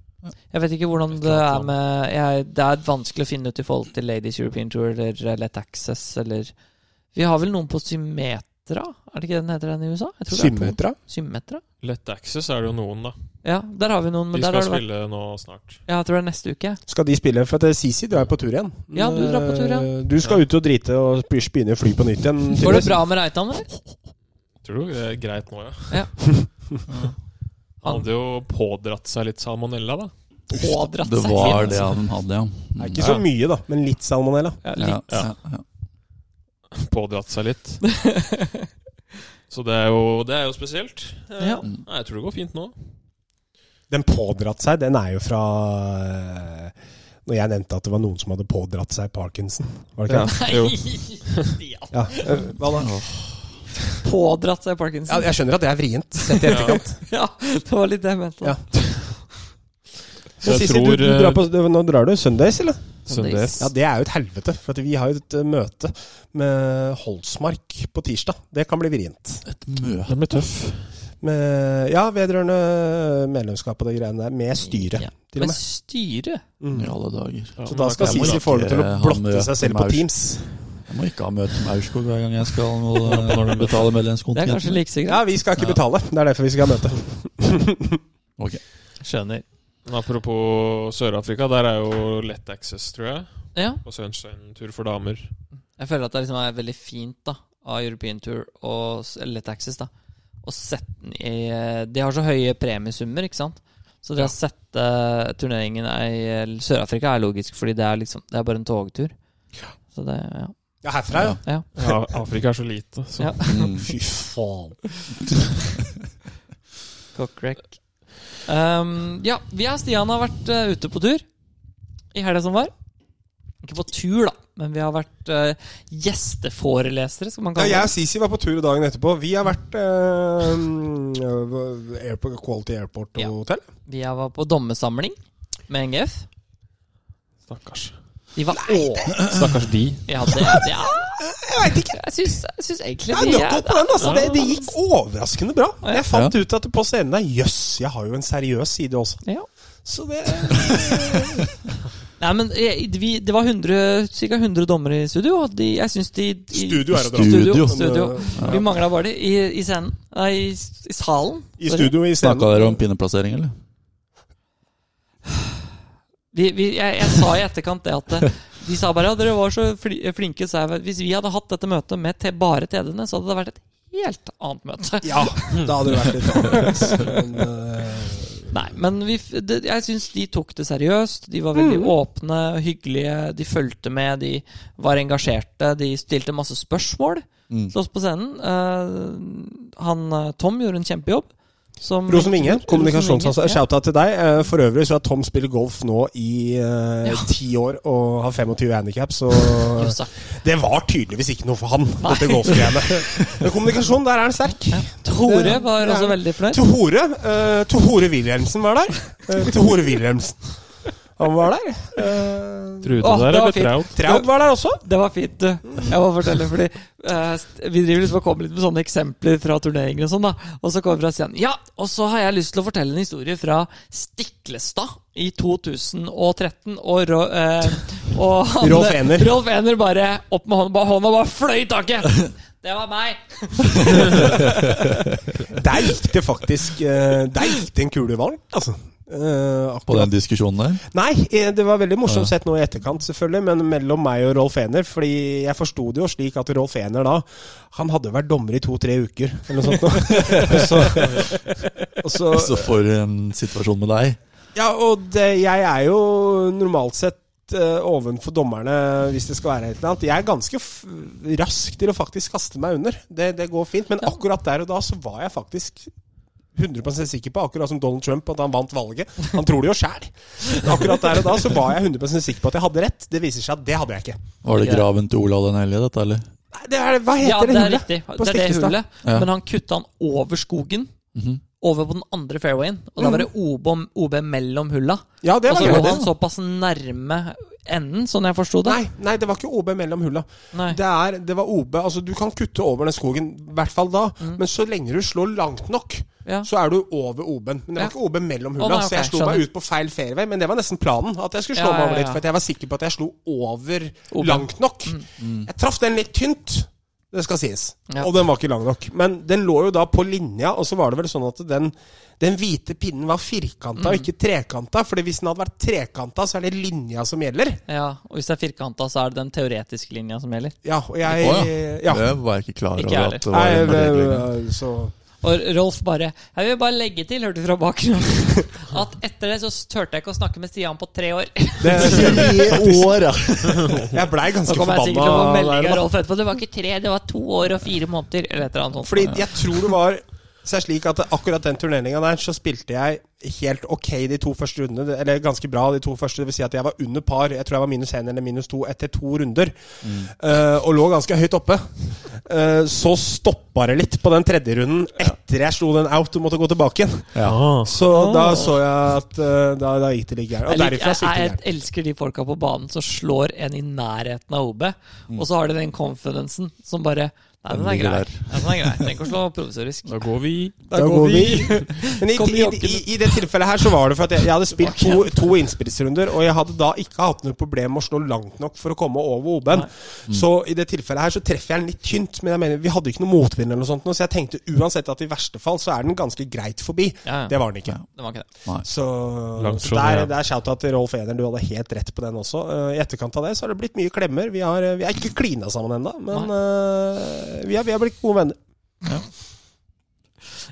[SPEAKER 2] Jeg vet ikke hvordan
[SPEAKER 4] Et
[SPEAKER 2] det
[SPEAKER 4] klart
[SPEAKER 2] er med jeg, Det er vanskelig å finne ut i forhold til Ladies European Tour eller eh, Let Access eller Vi har vel noen på Symmetra? Er det ikke den heter den i USA? Jeg tror det er på-
[SPEAKER 1] Symmetra?
[SPEAKER 2] Symmetra?
[SPEAKER 4] Lett access er det jo noen, da.
[SPEAKER 2] Ja, der har vi noen. Men
[SPEAKER 4] De
[SPEAKER 2] der
[SPEAKER 4] skal
[SPEAKER 2] har det vært,
[SPEAKER 4] spille nå snart.
[SPEAKER 2] ja, jeg tror det er neste uke.
[SPEAKER 1] Skal de spille? For at eh, Sisi drar på tur igjen.
[SPEAKER 2] Ja, du drar på tur, ja.
[SPEAKER 1] Eh, Du skal ut og drite og begynne å fly på nytt igjen.
[SPEAKER 2] Går det
[SPEAKER 1] tydeligvis.
[SPEAKER 2] bra med Reitan, eller?
[SPEAKER 4] Tror du det er greit nå, ja?
[SPEAKER 2] Ja.
[SPEAKER 4] Han hadde jo pådratt seg litt salmonella, da.
[SPEAKER 2] Pådratt
[SPEAKER 3] Det
[SPEAKER 2] seg
[SPEAKER 3] var
[SPEAKER 2] litt.
[SPEAKER 3] det han hadde, ja. Mm.
[SPEAKER 1] Det er ikke så
[SPEAKER 4] Ja.
[SPEAKER 1] mye, da, men litt salmonella.
[SPEAKER 2] Ja,
[SPEAKER 3] ja,
[SPEAKER 2] litt.
[SPEAKER 3] ja, ja.
[SPEAKER 4] Pådratt seg *laughs* litt. Så det er jo, det er jo spesielt. Eh,
[SPEAKER 2] Ja.
[SPEAKER 3] Mm.
[SPEAKER 4] Nei, jeg tror det går fint nå.
[SPEAKER 1] Den pådratt seg, den er jo fra eh, Når jeg nevnte at det var noen som hadde pådratt seg parkinson. Var
[SPEAKER 4] *laughs*
[SPEAKER 1] det ikke det?
[SPEAKER 4] Jo.
[SPEAKER 2] Stian.
[SPEAKER 1] Ja. eh, Hva da?
[SPEAKER 2] *laughs* Pådratt seg
[SPEAKER 1] Ja,
[SPEAKER 2] parkinson.
[SPEAKER 1] jeg skjønner at det er *laughs* vrient, sett i etterkant.
[SPEAKER 2] Ja, det var litt det jeg mente.
[SPEAKER 1] Ja.
[SPEAKER 4] Så
[SPEAKER 1] Men
[SPEAKER 4] jeg
[SPEAKER 1] Sissy,
[SPEAKER 4] tror
[SPEAKER 1] du, du
[SPEAKER 4] eh,
[SPEAKER 1] drar på, du- nå drar du søndags, eller?
[SPEAKER 4] Søndags.
[SPEAKER 1] Ja, det er jo et helvete. For at vi har jo et eh, møte med Holsmark på tirsdag. Det kan bli vrient.
[SPEAKER 3] Et møte
[SPEAKER 4] Den blir tøff.
[SPEAKER 1] Med, ja, vedrørende medlemskap og de greiene der. Med styret,
[SPEAKER 2] Ja.
[SPEAKER 1] til og
[SPEAKER 2] Men
[SPEAKER 1] med.
[SPEAKER 2] styret
[SPEAKER 1] Mm.
[SPEAKER 3] i alle dager.
[SPEAKER 4] Ja,
[SPEAKER 1] Så da skal
[SPEAKER 3] Jeg må
[SPEAKER 1] Sisi
[SPEAKER 3] ikke
[SPEAKER 1] få det til å
[SPEAKER 3] ha
[SPEAKER 1] blotte
[SPEAKER 3] møte
[SPEAKER 1] seg selv
[SPEAKER 3] med
[SPEAKER 1] på
[SPEAKER 3] Aurskog.
[SPEAKER 1] Teams.
[SPEAKER 3] Jeg må ikke ha møte med Aurskog hver gang jeg skal når de betaler
[SPEAKER 2] Det er kanskje
[SPEAKER 3] medlemskontingenten.
[SPEAKER 2] like så greit.
[SPEAKER 1] Ja, vi skal ikke
[SPEAKER 3] Ja.
[SPEAKER 1] betale. Det er derfor vi skal ha møte.
[SPEAKER 3] Ok.
[SPEAKER 2] Skjønner.
[SPEAKER 4] Men Apropos Sør-Afrika, der er jo lett access, tror jeg.
[SPEAKER 2] Ja.
[SPEAKER 4] På Sunshine-tur for damer.
[SPEAKER 2] Jeg føler at det liksom er veldig fint da av European Tour og s- eller Let Access da å sette den i eh, De har så høye premiesummer, ikke sant? Så det å sette turneringen i eh, Sør-Afrika er logisk, fordi det er liksom Det er bare en togtur. Så det Ja.
[SPEAKER 1] Ja, herfra, ja.
[SPEAKER 2] ja.
[SPEAKER 4] Ja, Afrika er så lite, så
[SPEAKER 2] Ja.
[SPEAKER 3] Mm.
[SPEAKER 1] Fy faen.
[SPEAKER 2] Cockrack. Um, ja, vi og Stian har vært eh, ute på tur i helga som var. Ikke på tur, da, men vi har vært eh, gjesteforelesere, skal man
[SPEAKER 1] Ja,
[SPEAKER 2] kalle
[SPEAKER 1] jeg og
[SPEAKER 2] det.
[SPEAKER 1] Sisi var på tur dagen etterpå. Vi har vært eh, airport, Quality Airport
[SPEAKER 2] Ja.
[SPEAKER 1] Hotel.
[SPEAKER 2] Vi var på dommesamling med NGF.
[SPEAKER 4] stakkars.
[SPEAKER 2] De var over
[SPEAKER 4] Stakkars de.
[SPEAKER 2] Ja, det, det er,
[SPEAKER 1] *laughs* Jeg veit ikke!
[SPEAKER 2] jeg syns, jeg syns egentlig
[SPEAKER 1] Jeg er
[SPEAKER 2] det
[SPEAKER 1] nødt opp på den, altså. Det, det gikk overraskende bra.
[SPEAKER 2] Ja.
[SPEAKER 1] Jeg fant ut at på scenen der Jøss, jeg har jo en seriøs side også.
[SPEAKER 2] ja.
[SPEAKER 1] Så det
[SPEAKER 2] Nei, men eh, vi, det var 100, ca. 100 dommere i studio, og de, jeg syns de, de
[SPEAKER 1] Studio er å dra.
[SPEAKER 2] Studio.
[SPEAKER 3] Studio.
[SPEAKER 2] studio.
[SPEAKER 1] Ja.
[SPEAKER 2] Vi mangla bare de i, i scenen. Nei, i, i salen.
[SPEAKER 1] I
[SPEAKER 2] Sorry.
[SPEAKER 1] studio i
[SPEAKER 3] Snakka
[SPEAKER 1] scenen.
[SPEAKER 3] dere om pinneplassering, eller?
[SPEAKER 2] Vi, vi, jeg, jeg sa i etterkant det at eh, de sa bare ja, dere var så fli, flinke, så jeg vet- Hvis vi hadde hatt dette møtet med te, bare TD-ene, så hadde det vært et helt annet møte.
[SPEAKER 1] Ja, da hadde det vært litt annerledes. Men, eh,
[SPEAKER 2] *laughs* Nei, men vi, f- det, jeg syns de tok det seriøst. De var
[SPEAKER 1] Mm.
[SPEAKER 2] veldig åpne og hyggelige. De fulgte med, de var engasjerte. De stilte masse spørsmål
[SPEAKER 3] Mm.
[SPEAKER 2] til oss på scenen. Eh, han eh, Tom gjorde en kjempejobb. som-
[SPEAKER 1] Mm. Rosenvinge, kommunikasjonsansvarlig.
[SPEAKER 2] Rosenvinge,
[SPEAKER 1] Shout-out til deg. Eh, For øvrig så har Tom spilt golf nå i eh,
[SPEAKER 2] Ja.
[SPEAKER 1] ti år og har 25 handikap, så
[SPEAKER 2] ja. Rosa.
[SPEAKER 1] det var tydeligvis ikke noe for han, dette golfgreiene.
[SPEAKER 2] *laughs*
[SPEAKER 1] Men kommunikasjon, der er han sterk.
[SPEAKER 2] Tore
[SPEAKER 1] Det-
[SPEAKER 2] var
[SPEAKER 1] det er-
[SPEAKER 2] også veldig fornøyd.
[SPEAKER 1] Tohore uh, Tohore Wilhelmsen var der. Uh, Tohore Wilhelmsen. Han var der. Eh,
[SPEAKER 4] Trude
[SPEAKER 2] Åh, det
[SPEAKER 4] der
[SPEAKER 2] var
[SPEAKER 4] er
[SPEAKER 2] fint.
[SPEAKER 4] betraut.
[SPEAKER 1] Traud var der også.
[SPEAKER 2] Det var fint, du. Jeg må fortelle, fordi eh, st- vi driver liksom og kommer litt med sånne eksempler fra turneringer og sånn, da. Og så kommer fra scenen Ja, og så har jeg lyst til å fortelle en historie fra Stiklestad i 2013. Og, Rå, eh, og han-
[SPEAKER 1] Rolf Ener.
[SPEAKER 2] Rolf Ener bare opp med hånda, bare hånda bare fløy i taket! Det var meg!
[SPEAKER 1] Der gikk det faktisk eh, Der gikk det en kule varmt, altså. Eh,
[SPEAKER 3] På
[SPEAKER 1] akkurat.
[SPEAKER 3] den diskusjonen der?
[SPEAKER 1] Nei, eh, det var veldig morsomt
[SPEAKER 3] Ja.
[SPEAKER 1] sett nå i etterkant, selvfølgelig, men mellom meg og Rolf Ener. Fordi jeg forsto det jo slik at Rolf Ener da Han hadde vært dommer i to-tre uker,
[SPEAKER 3] *laughs*
[SPEAKER 1] eller noe sånt. nå. *laughs* og så, og så
[SPEAKER 3] Så for en situasjon med deg.
[SPEAKER 1] Ja, og det, jeg er jo normalt sett eh, ovenfor dommerne hvis det skal være et eller annet. Jeg er ganske f rask til å faktisk kaste meg under. Det, det går fint. Men
[SPEAKER 2] Ja.
[SPEAKER 1] akkurat der og da så var jeg faktisk 100 sikker på, akkurat som Donald Trump, at han vant valget. Han tror det jo sjæl. Akkurat der og da så var jeg 100 sikker på at jeg hadde rett. Det viser seg at det hadde jeg ikke.
[SPEAKER 3] Var det
[SPEAKER 2] Ja.
[SPEAKER 3] graven til Olav den hellige, dette, eller?
[SPEAKER 1] Nei, det er, hva heter
[SPEAKER 2] Ja,
[SPEAKER 1] det
[SPEAKER 2] det er
[SPEAKER 1] hullet?
[SPEAKER 2] riktig.
[SPEAKER 1] på
[SPEAKER 2] Det er det
[SPEAKER 1] Stiklestad.
[SPEAKER 2] hullet.
[SPEAKER 3] Ja.
[SPEAKER 2] Men han kutta den over skogen.
[SPEAKER 3] Mhm.
[SPEAKER 2] Over på den andre fairwayen. Og da var det OB, om- OB mellom hulla.
[SPEAKER 1] Mm. Ja, det
[SPEAKER 2] Og
[SPEAKER 1] var
[SPEAKER 2] så lå
[SPEAKER 1] greit.
[SPEAKER 2] han såpass nærme enden, sånn jeg forsto det.
[SPEAKER 1] Nei, nei, det var ikke OB mellom hulla.
[SPEAKER 2] Nei.
[SPEAKER 1] Det, er, det var OB. Altså, du kan kutte over den skogen, i hvert fall da. Men så lenge du slår langt nok,
[SPEAKER 2] Mm. Ja.
[SPEAKER 1] så er du over OB-en. Men det
[SPEAKER 2] Ja.
[SPEAKER 1] var ikke OB mellom
[SPEAKER 2] Å,
[SPEAKER 1] hulla,
[SPEAKER 2] nei, ok,
[SPEAKER 1] så jeg slo
[SPEAKER 2] skjønner.
[SPEAKER 1] meg ut på feil fairway. Men det var nesten planen, at jeg skulle slå
[SPEAKER 2] Ja,
[SPEAKER 1] meg over
[SPEAKER 2] ja,
[SPEAKER 1] dit.
[SPEAKER 2] ja.
[SPEAKER 1] For at jeg var sikker på at jeg slo over
[SPEAKER 2] OB.
[SPEAKER 1] langt nok. Jeg traff den litt tynt. Det skal sies.
[SPEAKER 2] Ja.
[SPEAKER 1] Og den var ikke lang nok. Men den lå jo da på linja, og så var det vel sånn at den, den hvite pinnen var firkanta
[SPEAKER 2] Mm.
[SPEAKER 1] og ikke trekanta. Fordi hvis den hadde vært trekanta, så er det linja som gjelder.
[SPEAKER 2] Ja, og hvis det er firkanta, så er det den teoretiske linja som gjelder.
[SPEAKER 1] Ja, og jeg
[SPEAKER 3] Å,
[SPEAKER 1] ja.
[SPEAKER 3] Det var jeg ikke klar
[SPEAKER 2] Ikke
[SPEAKER 3] over
[SPEAKER 2] jeg
[SPEAKER 3] at det var en regelregel.
[SPEAKER 1] så
[SPEAKER 2] Og Rolf bare Jeg vil bare legge til, hørte du fra bakgrunnen,
[SPEAKER 1] *laughs*
[SPEAKER 2] at etter det så turte jeg ikke å snakke med Stian på tre år.
[SPEAKER 3] I år, ja.
[SPEAKER 1] *laughs* Jeg blei
[SPEAKER 2] Så
[SPEAKER 1] ganske
[SPEAKER 2] kom jeg sikkert til å få
[SPEAKER 1] forbanna.
[SPEAKER 2] melding
[SPEAKER 1] der,
[SPEAKER 2] av
[SPEAKER 1] da.
[SPEAKER 2] Rolf etterpå. Det var ikke tre, det var to år og fire måneder. Eller et eller annet sånt.
[SPEAKER 1] Fordi jeg tror det var seg slik at akkurat den turneringa der, så spilte jeg helt ok de to første rundene. det- Eller ganske bra de to første. Det vil si at jeg var under par. Jeg tror jeg var minus én eller minus to etter to runder.
[SPEAKER 2] Mm.
[SPEAKER 1] eh, og lå ganske høyt oppe. Eh, så stoppa det litt på den tredje runden etter jeg slo den out og måtte gå tilbake igjen.
[SPEAKER 4] Ah.
[SPEAKER 1] Så da så jeg at eh, da, da gikk det litt gærent. Og
[SPEAKER 2] Jeg, lik-
[SPEAKER 1] derifra så
[SPEAKER 2] jeg,
[SPEAKER 1] gikk det
[SPEAKER 2] jeg
[SPEAKER 1] gærent.
[SPEAKER 2] elsker de folka på banen som slår en i nærheten av OB, og så har de den confidencen som bare Nei, den
[SPEAKER 3] Den
[SPEAKER 2] er
[SPEAKER 3] ligger
[SPEAKER 2] grei.
[SPEAKER 3] der.
[SPEAKER 2] Nei, den er grei. Tenk å slå
[SPEAKER 3] *laughs*
[SPEAKER 2] provisorisk.
[SPEAKER 4] Da går vi
[SPEAKER 1] Da går vi. *laughs* Men i,
[SPEAKER 2] Kom
[SPEAKER 1] i,
[SPEAKER 2] joggende.
[SPEAKER 1] i, i det tilfellet her så var det for at jeg, jeg hadde spilt to, to innspillsrunder, og jeg hadde da ikke hatt noe problem med å slå langt nok for å komme over OB-en. Så i det tilfellet her så treffer jeg den litt tynt, men jeg mener vi hadde ikke noe motvind eller noe sånt, nå, så jeg tenkte uansett at i verste fall så er den ganske greit forbi.
[SPEAKER 2] Ja, ja.
[SPEAKER 1] Det var den ikke.
[SPEAKER 2] Det var ikke det.
[SPEAKER 1] Så,
[SPEAKER 4] Langt
[SPEAKER 1] så
[SPEAKER 4] fra
[SPEAKER 1] der,
[SPEAKER 4] det, ja.
[SPEAKER 1] der shout-out til Rolf Edern, du hadde helt rett på den også. Eh, I etterkant av det så har det blitt mye klemmer. Vi har, eh, vi har ikke klina sammen ennå, men eh, vi, har, vi har blitt gode venner.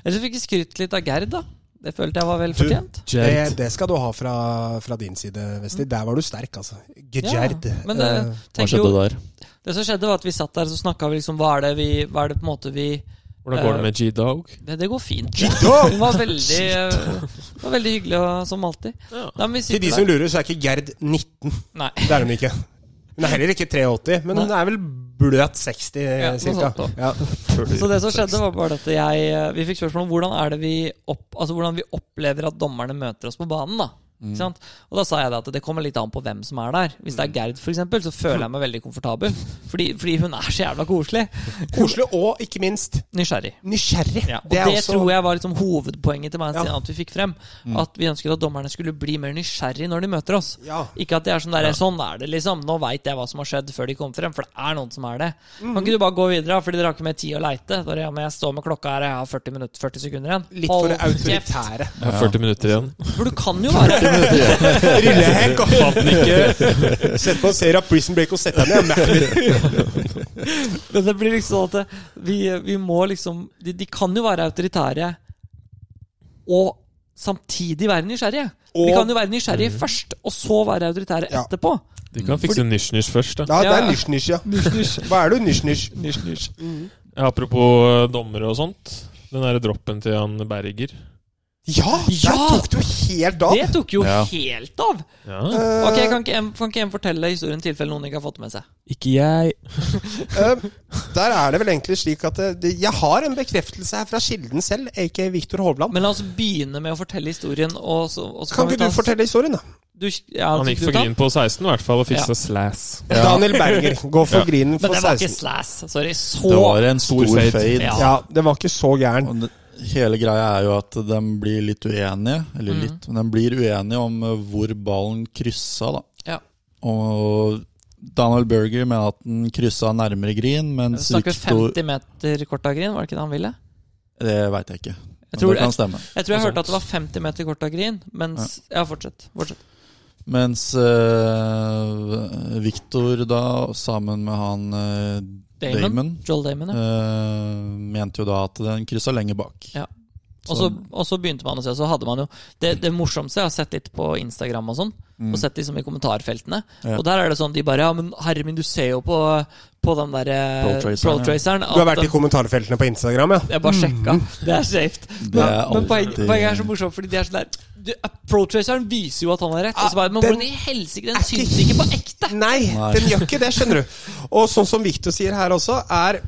[SPEAKER 2] Ellers fikk jeg skrytt litt av Gerd, da. Det følte jeg var vel
[SPEAKER 1] Du-
[SPEAKER 2] fortjent.
[SPEAKER 3] Eh,
[SPEAKER 1] Eh, Det, det skal du ha fra, fra din side, Vesti. Der var du sterk, altså. Gejerd.
[SPEAKER 2] Mm. Ja, men det,
[SPEAKER 1] Eh,
[SPEAKER 3] Hva
[SPEAKER 2] tenker
[SPEAKER 3] skjedde
[SPEAKER 2] jo,
[SPEAKER 3] der?
[SPEAKER 2] det som skjedde, var at vi satt der og snakka vi liksom hva er det vi Hva er det på en måte vi
[SPEAKER 4] Hvordan går det med G-Dog?
[SPEAKER 2] Det, det går fint.
[SPEAKER 1] G-Dog!
[SPEAKER 2] Hun var veldig, eh, var veldig hyggelig og, som alltid.
[SPEAKER 4] Ja.
[SPEAKER 2] Nei, men vi
[SPEAKER 1] til
[SPEAKER 2] sitter
[SPEAKER 1] de
[SPEAKER 2] der.
[SPEAKER 1] som lurer, så er ikke Gerd 19.
[SPEAKER 2] Nei.
[SPEAKER 1] Det er hun ikke. Hun er heller ikke 83, men hun er vel bløt 60,
[SPEAKER 2] noe
[SPEAKER 1] cirka.
[SPEAKER 2] sånt da.
[SPEAKER 1] Ja.
[SPEAKER 2] Så det som skjedde, var bare at jeg eh, Vi fikk spørsmål om hvordan er det vi opp, altså hvordan vi opplever at dommerne møter oss på banen. da Ikke sant? Og da sa jeg det at det kommer litt an på hvem som er der. Hvis det er Gerd, for eksempel, så føler jeg meg veldig komfortabel. Fordi, fordi hun er så jævla koselig.
[SPEAKER 1] Koselig og ikke minst
[SPEAKER 2] Nysgjerrig.
[SPEAKER 1] nysgjerrig.
[SPEAKER 2] Ja, og det tror jeg var liksom hovedpoenget til meg
[SPEAKER 1] Ja. Mm.
[SPEAKER 2] Stian, at vi fikk frem. At vi ønsket at dommerne skulle bli mer nysgjerrig når de møter oss.
[SPEAKER 1] Ja.
[SPEAKER 2] Ikke at det er sånn der, sånn er det liksom, nå veit jeg hva som har skjedd før de kom frem. For det er noen som er det.
[SPEAKER 1] Mm.
[SPEAKER 2] Kan ikke du bare gå videre, da, fordi dere har ikke mer tid å leite? Bare, ja, men jeg står med klokka her, jeg har 40 minutter, 40 sekunder igjen.
[SPEAKER 1] Litt for det
[SPEAKER 2] Hold kjeft.
[SPEAKER 1] autoritære.
[SPEAKER 4] Jeg har 40 minutter igjen.
[SPEAKER 2] For du kan jo være *laughs*
[SPEAKER 1] Rullehekk og
[SPEAKER 4] Fant den ikke!
[SPEAKER 1] Sett på en serie av Prison Break og sett deg ned. Mac.
[SPEAKER 2] Men det blir liksom sånn at det, vi, vi må liksom de, de kan jo være autoritære og samtidig være nysgjerrige.
[SPEAKER 1] Og- Mm.
[SPEAKER 2] de kan jo være nysgjerrige først, og så være autoritære
[SPEAKER 1] Ja.
[SPEAKER 2] etterpå.
[SPEAKER 4] De kan fikse nysj-nysj først, da.
[SPEAKER 1] Ja, det er
[SPEAKER 2] Mm. Ja.
[SPEAKER 1] nysj-nysj, ja. Hva er du nysj-nysj?
[SPEAKER 4] Ja, apropos eh, dommere og sånt. Den derre droppen til han Berger.
[SPEAKER 1] Ja, der
[SPEAKER 2] Ja!
[SPEAKER 1] tok du helt av!
[SPEAKER 2] Det tok jo
[SPEAKER 3] Ja.
[SPEAKER 2] helt av!
[SPEAKER 4] Ja.
[SPEAKER 1] Eh,
[SPEAKER 2] Ok, Kan ikke en, kan ikke en fortelle historien i tilfelle noen ikke har fått med seg?
[SPEAKER 4] Ikke jeg.
[SPEAKER 1] Eh, Der er det vel egentlig slik at eh, det, jeg har en bekreftelse her fra kilden selv, aka Viktor Hovland.
[SPEAKER 2] Men la oss begynne med å fortelle historien. Og så, og så
[SPEAKER 1] Kan ikke
[SPEAKER 2] vi ta-
[SPEAKER 1] du fortelle historien, da?
[SPEAKER 2] Du, ja,
[SPEAKER 4] Han gikk
[SPEAKER 2] du
[SPEAKER 4] for
[SPEAKER 2] ta-
[SPEAKER 4] green på 16 i hvert fall, og fiksa slass.
[SPEAKER 1] Daniel Berger, gå for grinen
[SPEAKER 2] Men
[SPEAKER 1] for
[SPEAKER 2] det var ikke
[SPEAKER 1] 16.
[SPEAKER 2] slass. Sorry. Så
[SPEAKER 3] Det var en stor
[SPEAKER 4] Stor fade.
[SPEAKER 3] fade.
[SPEAKER 2] Ja.
[SPEAKER 1] Ja, den var ikke så gæren.
[SPEAKER 3] Og det- Hele greia er jo at de blir litt uenige, eller litt, men de blir uenige om eh, hvor ballen kryssa, da.
[SPEAKER 2] ja.
[SPEAKER 3] Og Donald Berger mener at den kryssa nærmere green, mens
[SPEAKER 2] Snakker
[SPEAKER 3] Victor
[SPEAKER 2] 50 meter kort av grin, var det ikke det han ville?
[SPEAKER 3] Det veit jeg ikke. Men
[SPEAKER 2] tror
[SPEAKER 3] det kan
[SPEAKER 2] jeg-
[SPEAKER 3] stemme.
[SPEAKER 2] Jeg tror jeg
[SPEAKER 4] Og
[SPEAKER 2] hørte
[SPEAKER 4] sånt.
[SPEAKER 2] at det var 50 meter kort av grin, mens Ja, fortsett. fortsett.
[SPEAKER 3] Mens eh, Victor da, sammen med han eh,
[SPEAKER 2] Damon.
[SPEAKER 3] Damon,
[SPEAKER 2] Joel Damon, ja.
[SPEAKER 3] eh, mente jo da at den kryssa lenger bak.
[SPEAKER 2] Ja. Og så, og så begynte man å se, så hadde man jo Det, det morsomste jeg har sett litt på Instagram og sånn,
[SPEAKER 1] Mm.
[SPEAKER 2] og sett liksom i kommentarfeltene,
[SPEAKER 3] Ja.
[SPEAKER 2] og der er det sånn de bare Ja, men herre min, du ser jo på, på den derre
[SPEAKER 3] Pro-traceren, ja.
[SPEAKER 2] Pro-traceren.
[SPEAKER 1] Du har
[SPEAKER 2] at
[SPEAKER 1] vært i Mm. kommentarfeltene på Instagram, ja?
[SPEAKER 2] jeg bare sjekka. *laughs* Det er safe.
[SPEAKER 3] Det
[SPEAKER 2] Men,
[SPEAKER 3] er
[SPEAKER 2] men poen-
[SPEAKER 3] alltid-
[SPEAKER 2] poenget er så morsomt, fordi det er sånn der du- Pro-traceren viser jo at han har rett. Og så bare, men
[SPEAKER 1] den-
[SPEAKER 2] hvordan i helsike, den
[SPEAKER 1] Er ikke-
[SPEAKER 2] syns ikke på ekte!
[SPEAKER 1] Nei, den gjør ikke det, skjønner du. Og sånn som Victor sier her også, er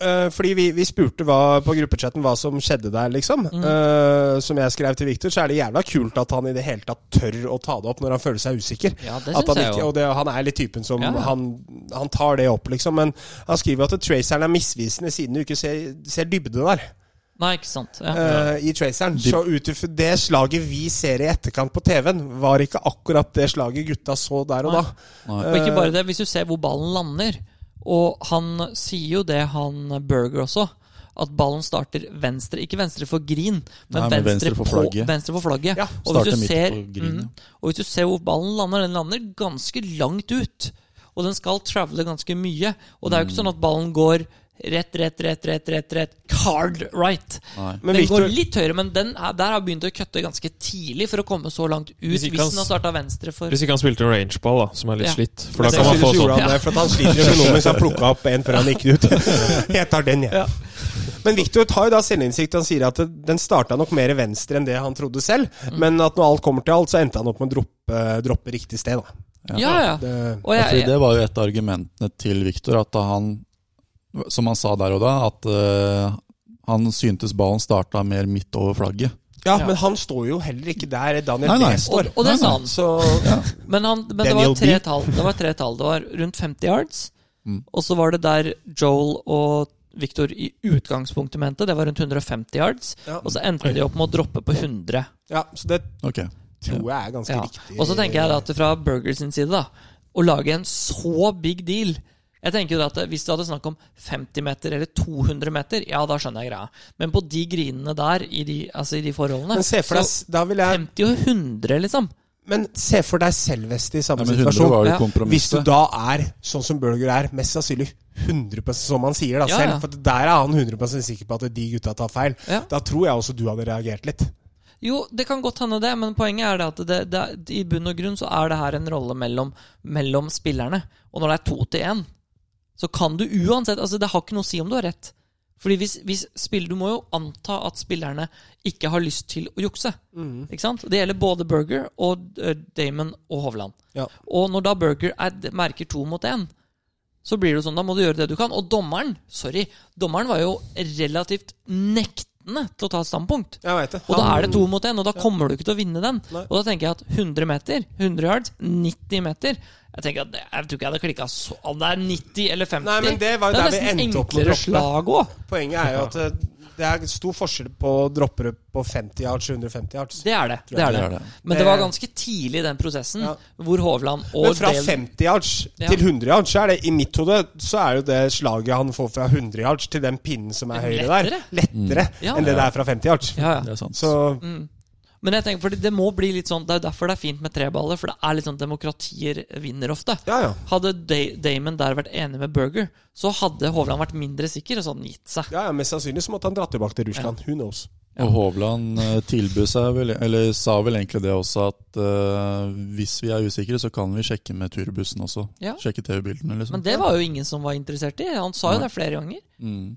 [SPEAKER 1] eh, fordi vi, vi spurte hva, på gruppechatten hva som skjedde der, liksom.
[SPEAKER 2] Mm.
[SPEAKER 1] Eh, som jeg skrev til Victor, så er det jævla kult at han i det hele tatt tør å ta det opp når han føler seg usikker.
[SPEAKER 2] Ja, det
[SPEAKER 1] At
[SPEAKER 2] synes
[SPEAKER 1] han
[SPEAKER 2] jeg
[SPEAKER 1] ikke,
[SPEAKER 2] jo.
[SPEAKER 1] og det, han er litt typen som
[SPEAKER 2] Ja, ja.
[SPEAKER 1] Han, han tar det opp, liksom. Men han skriver at traceren er misvisende siden du ikke ser, ser dybde der.
[SPEAKER 2] Nei, ikke sant. Ja.
[SPEAKER 1] eh, I traceren. Så ut ifra det slaget vi ser i etterkant på TV-en, var ikke akkurat det slaget gutta så der og
[SPEAKER 2] Nei.
[SPEAKER 1] da.
[SPEAKER 2] Og ikke
[SPEAKER 3] Eh.
[SPEAKER 2] bare det, hvis du ser hvor ballen lander Og han sier jo det, han Berger også, at ballen starter venstre. Ikke venstre for green, men,
[SPEAKER 3] Nei, men
[SPEAKER 2] venstre,
[SPEAKER 3] venstre for
[SPEAKER 2] på,
[SPEAKER 3] flagget.
[SPEAKER 2] venstre for flagget.
[SPEAKER 1] Ja,
[SPEAKER 2] og, hvis
[SPEAKER 3] starter
[SPEAKER 2] du
[SPEAKER 3] midt
[SPEAKER 2] ser,
[SPEAKER 3] på green,
[SPEAKER 2] mm, og hvis du ser hvor ballen lander, den lander ganske langt ut. Og den skal travele ganske mye. Og det er jo
[SPEAKER 3] Mm.
[SPEAKER 2] ikke sånn at ballen går rett, rett, rett, rett, rett, rett. Card right.
[SPEAKER 3] Nei.
[SPEAKER 1] Men
[SPEAKER 2] den
[SPEAKER 1] Victor-
[SPEAKER 2] går litt høyere, men den er, der har begynt å kutte ganske tidlig for å komme så langt ut.
[SPEAKER 4] Hvis
[SPEAKER 2] Hvis,
[SPEAKER 4] ikke han
[SPEAKER 2] den har starta venstre for
[SPEAKER 4] Hvis ikke han spilte en rangeball, da, som er litt
[SPEAKER 2] Ja.
[SPEAKER 4] slitt. For
[SPEAKER 1] Men
[SPEAKER 4] da kan man
[SPEAKER 1] jeg
[SPEAKER 4] få
[SPEAKER 1] synes
[SPEAKER 4] sånn
[SPEAKER 1] gjorde han det, for at han sliter økonomisk. Han plukka opp en før han gikk
[SPEAKER 2] *laughs*
[SPEAKER 1] ut. Jeg tar den, jeg. Men Victor tar jo da selvinnsikt. Han sier at det- den starta nok mer venstre enn det han trodde selv.
[SPEAKER 2] Mm.
[SPEAKER 1] Men at når alt kommer til alt, så endte han opp med å droppe, droppe riktig sted, da.
[SPEAKER 2] Ja, ja.
[SPEAKER 1] Det,
[SPEAKER 2] Og
[SPEAKER 3] Ja,
[SPEAKER 2] jeg,
[SPEAKER 3] fordi det var jo et av argumentene til Viktor, at han, som han sa der og da, at eh, han syntes ballen starta mer midt over flagget.
[SPEAKER 1] ja,
[SPEAKER 2] Ja.
[SPEAKER 1] men han står jo heller ikke der Daniel
[SPEAKER 3] Nei, nei.
[SPEAKER 1] Bree står.
[SPEAKER 2] Og, og det
[SPEAKER 3] Nei,
[SPEAKER 2] sa
[SPEAKER 3] nei.
[SPEAKER 2] han.
[SPEAKER 1] Så
[SPEAKER 2] Men, han, men det,
[SPEAKER 1] Daniel
[SPEAKER 2] var tre
[SPEAKER 1] B.
[SPEAKER 2] tall, det var tre tall. Det var rundt 50 yards.
[SPEAKER 3] Mm.
[SPEAKER 2] Og så var det der Joel og Victor i utgangspunktet mente. Det var rundt 150 yards.
[SPEAKER 1] Ja.
[SPEAKER 2] Og så endte de opp med å droppe på 100.
[SPEAKER 1] ja, så det
[SPEAKER 3] Ok.
[SPEAKER 1] tror jeg er ganske
[SPEAKER 2] Ja.
[SPEAKER 1] riktig.
[SPEAKER 2] Og så tenker jeg da at fra Burger sin side, da, å lage en så big deal jeg tenker jo da at Hvis du hadde snakk om 50 meter eller 200 meter, ja, da skjønner jeg greia. Men på de grinene der, i de, altså i de forholdene
[SPEAKER 1] Men se for deg,
[SPEAKER 2] så
[SPEAKER 1] da vil jeg,
[SPEAKER 2] 50 og 100, liksom.
[SPEAKER 1] men se for deg selvvest i samme
[SPEAKER 3] Nei, men 100
[SPEAKER 1] situasjon.
[SPEAKER 3] var jo
[SPEAKER 2] Ja.
[SPEAKER 1] Hvis du
[SPEAKER 3] kompromisset.
[SPEAKER 1] da er sånn som Burger er, mest sannsynlig 100 som han sier da
[SPEAKER 2] Ja,
[SPEAKER 1] selv.
[SPEAKER 2] ja.
[SPEAKER 1] For der er han 100 sikker på at de gutta tar feil.
[SPEAKER 2] Ja.
[SPEAKER 1] Da tror jeg også du hadde reagert litt.
[SPEAKER 2] Jo, det kan godt hende det, men poenget er det at det, det, er- i bunn og grunn så er det her en rolle mellom, mellom spillerne. Og når det er to til én, så kan du uansett altså Det har ikke noe å si om du har rett. Fordi hvis, hvis spill, Du må jo anta at spillerne ikke har lyst til å jukse. Ikke sant? Det gjelder både Burger og eh, Damon og Hovland.
[SPEAKER 1] Ja.
[SPEAKER 2] Og når da Burger er, merker to mot én, så blir det jo sånn, da må du gjøre det du kan. Og dommeren, sorry, dommeren var jo relativt nektende til å ta et standpunkt.
[SPEAKER 1] Jeg vet det.
[SPEAKER 2] Og da er det to mot én, og da kommer du ikke til å vinne den.
[SPEAKER 1] Nei.
[SPEAKER 2] Og da tenker jeg at 100 meter, 100 yards, 90 meter Jeg tenker at det, jeg tror ikke jeg hadde klikka så Om det er 90 eller 50
[SPEAKER 1] Nei, men det var jo der vi
[SPEAKER 2] nesten
[SPEAKER 1] endte opp med å
[SPEAKER 2] enklere
[SPEAKER 1] droppe.
[SPEAKER 2] slag òg.
[SPEAKER 1] Poenget er jo at eh, det er stor forskjell på droppere på 50 yards og 150 yards.
[SPEAKER 2] Det er det. det, er det.
[SPEAKER 3] det er det.
[SPEAKER 2] Men det var ganske tidlig i den prosessen
[SPEAKER 1] Ja.
[SPEAKER 2] hvor Hovland og
[SPEAKER 1] Men fra
[SPEAKER 2] Dale-
[SPEAKER 1] 50 yards
[SPEAKER 2] Ja.
[SPEAKER 1] til 100 yards, så er det i mitt hode så er jo det slaget han får fra 100 yards til den pinnen som er høyre der, lettere
[SPEAKER 2] Ja.
[SPEAKER 1] enn det det er fra 50 yards.
[SPEAKER 2] ja, Mm. ja.
[SPEAKER 3] Det er sant.
[SPEAKER 1] Så
[SPEAKER 2] Men jeg tenker, fordi det må bli litt sånn Det er jo derfor det er fint med treballer, for det er litt sånn demokratier vinner ofte.
[SPEAKER 1] ja, ja.
[SPEAKER 2] Hadde Da- Damon der vært enig med Burger, så hadde Hovland vært mindre sikker og sånn gitt seg.
[SPEAKER 1] Ja, ja, Mest sannsynlig så måtte han dra tilbake til Russland. Who knows?
[SPEAKER 3] Og Hovland eh, tilbød seg vel, eller sa vel egentlig det også, at eh, hvis vi er usikre, så kan vi sjekke med turbussen også.
[SPEAKER 2] Ja.
[SPEAKER 3] Sjekke TV-bildene, liksom.
[SPEAKER 2] Men det var jo ingen som var interessert i. Han sa jo
[SPEAKER 3] Nei.
[SPEAKER 2] det flere ganger.
[SPEAKER 3] Mm.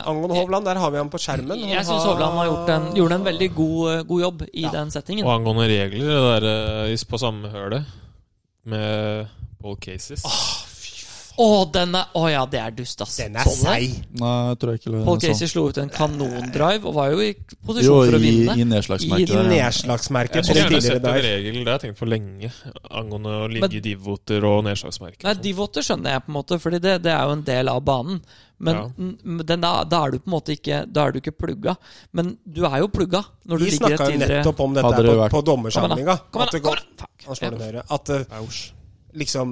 [SPEAKER 1] Angående Hovland, der har vi han på skjermen. Han
[SPEAKER 2] Jeg syns Hovland har gjort en, gjorde en veldig god, eh, god jobb i
[SPEAKER 1] Ja.
[SPEAKER 2] den settingen.
[SPEAKER 4] Og angående regler, det der eh, is- på samme hølet med Paul Cases
[SPEAKER 2] Å, den er Å ja, det er dust, ass.
[SPEAKER 1] Den er
[SPEAKER 2] Sånn er.
[SPEAKER 1] seig.
[SPEAKER 3] Nei, jeg tror jeg ikke det
[SPEAKER 2] Paul
[SPEAKER 3] er
[SPEAKER 2] Casey slo ut en kanondrive og var jo i posisjon
[SPEAKER 3] Jo,
[SPEAKER 2] for å
[SPEAKER 3] i,
[SPEAKER 2] vinne.
[SPEAKER 3] i
[SPEAKER 2] I
[SPEAKER 3] nedslagsmerket.
[SPEAKER 1] I
[SPEAKER 3] der, ja.
[SPEAKER 1] nedslagsmerket
[SPEAKER 4] Jeg
[SPEAKER 1] på
[SPEAKER 4] skulle
[SPEAKER 1] den
[SPEAKER 4] gjerne
[SPEAKER 1] tidligere
[SPEAKER 4] sett en
[SPEAKER 1] der.
[SPEAKER 4] regel det har jeg tenkt på lenge, angående å
[SPEAKER 2] Men-
[SPEAKER 4] ligge i divoter og nedslagsmerker.
[SPEAKER 2] Nei, Divotter skjønner jeg, på en måte, Fordi det, det er jo en del av banen. Men
[SPEAKER 4] Ja.
[SPEAKER 2] n- den, da, da er du på en måte ikke Da er du ikke plugga. Men du er jo plugga når du
[SPEAKER 1] Vi
[SPEAKER 2] ligger et
[SPEAKER 1] snakka jo
[SPEAKER 2] tidligere
[SPEAKER 1] nettopp om dette
[SPEAKER 3] Hadde
[SPEAKER 1] her
[SPEAKER 3] det
[SPEAKER 1] på,
[SPEAKER 3] vært-
[SPEAKER 1] på dommersamlinga.
[SPEAKER 2] Kom
[SPEAKER 1] At
[SPEAKER 2] igjen,
[SPEAKER 1] det
[SPEAKER 2] da,
[SPEAKER 1] går-
[SPEAKER 2] kom igjen! da. Fuck.
[SPEAKER 1] Han slår den høyre. At eh,
[SPEAKER 4] Ouch.
[SPEAKER 1] liksom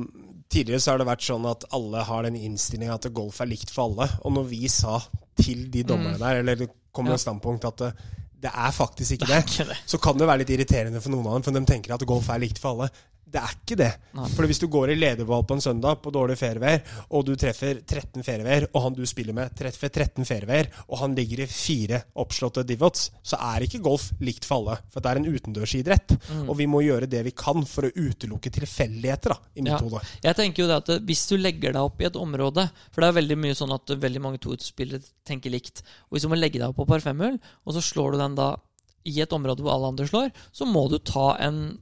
[SPEAKER 1] Tidligere så har det vært sånn at alle har den innstillinga at golf er likt for alle. Og når vi sa til de dommerne der, eller det kommer
[SPEAKER 2] Mm. Ja.
[SPEAKER 1] et standpunkt at eh, det er faktisk ikke
[SPEAKER 2] Det
[SPEAKER 1] det,
[SPEAKER 2] er ikke det.
[SPEAKER 1] så kan det være litt irriterende for noen av dem, for de tenker at golf er likt for alle. Det er ikke det.
[SPEAKER 2] Nei.
[SPEAKER 1] For hvis du går i lederball på en søndag på dårlig fairway, og du treffer 13 fairwayer, og han du spiller med treffer 13 fairwayer, og han ligger i fire oppslåtte divots, så er ikke golf likt for alle. For det er en utendørsidrett.
[SPEAKER 4] Mm.
[SPEAKER 1] Og vi må gjøre det vi kan for å utelukke tilfeldigheter, da, i mitt
[SPEAKER 2] Ja.
[SPEAKER 1] hode.
[SPEAKER 2] Jeg tenker jo det at hvis du legger deg opp i et område For det er veldig mye sånn at veldig mange toutspillere tenker likt. Og Hvis du må legge deg opp på par femhull, og så slår du den da i et område hvor alle andre slår, så må du ta en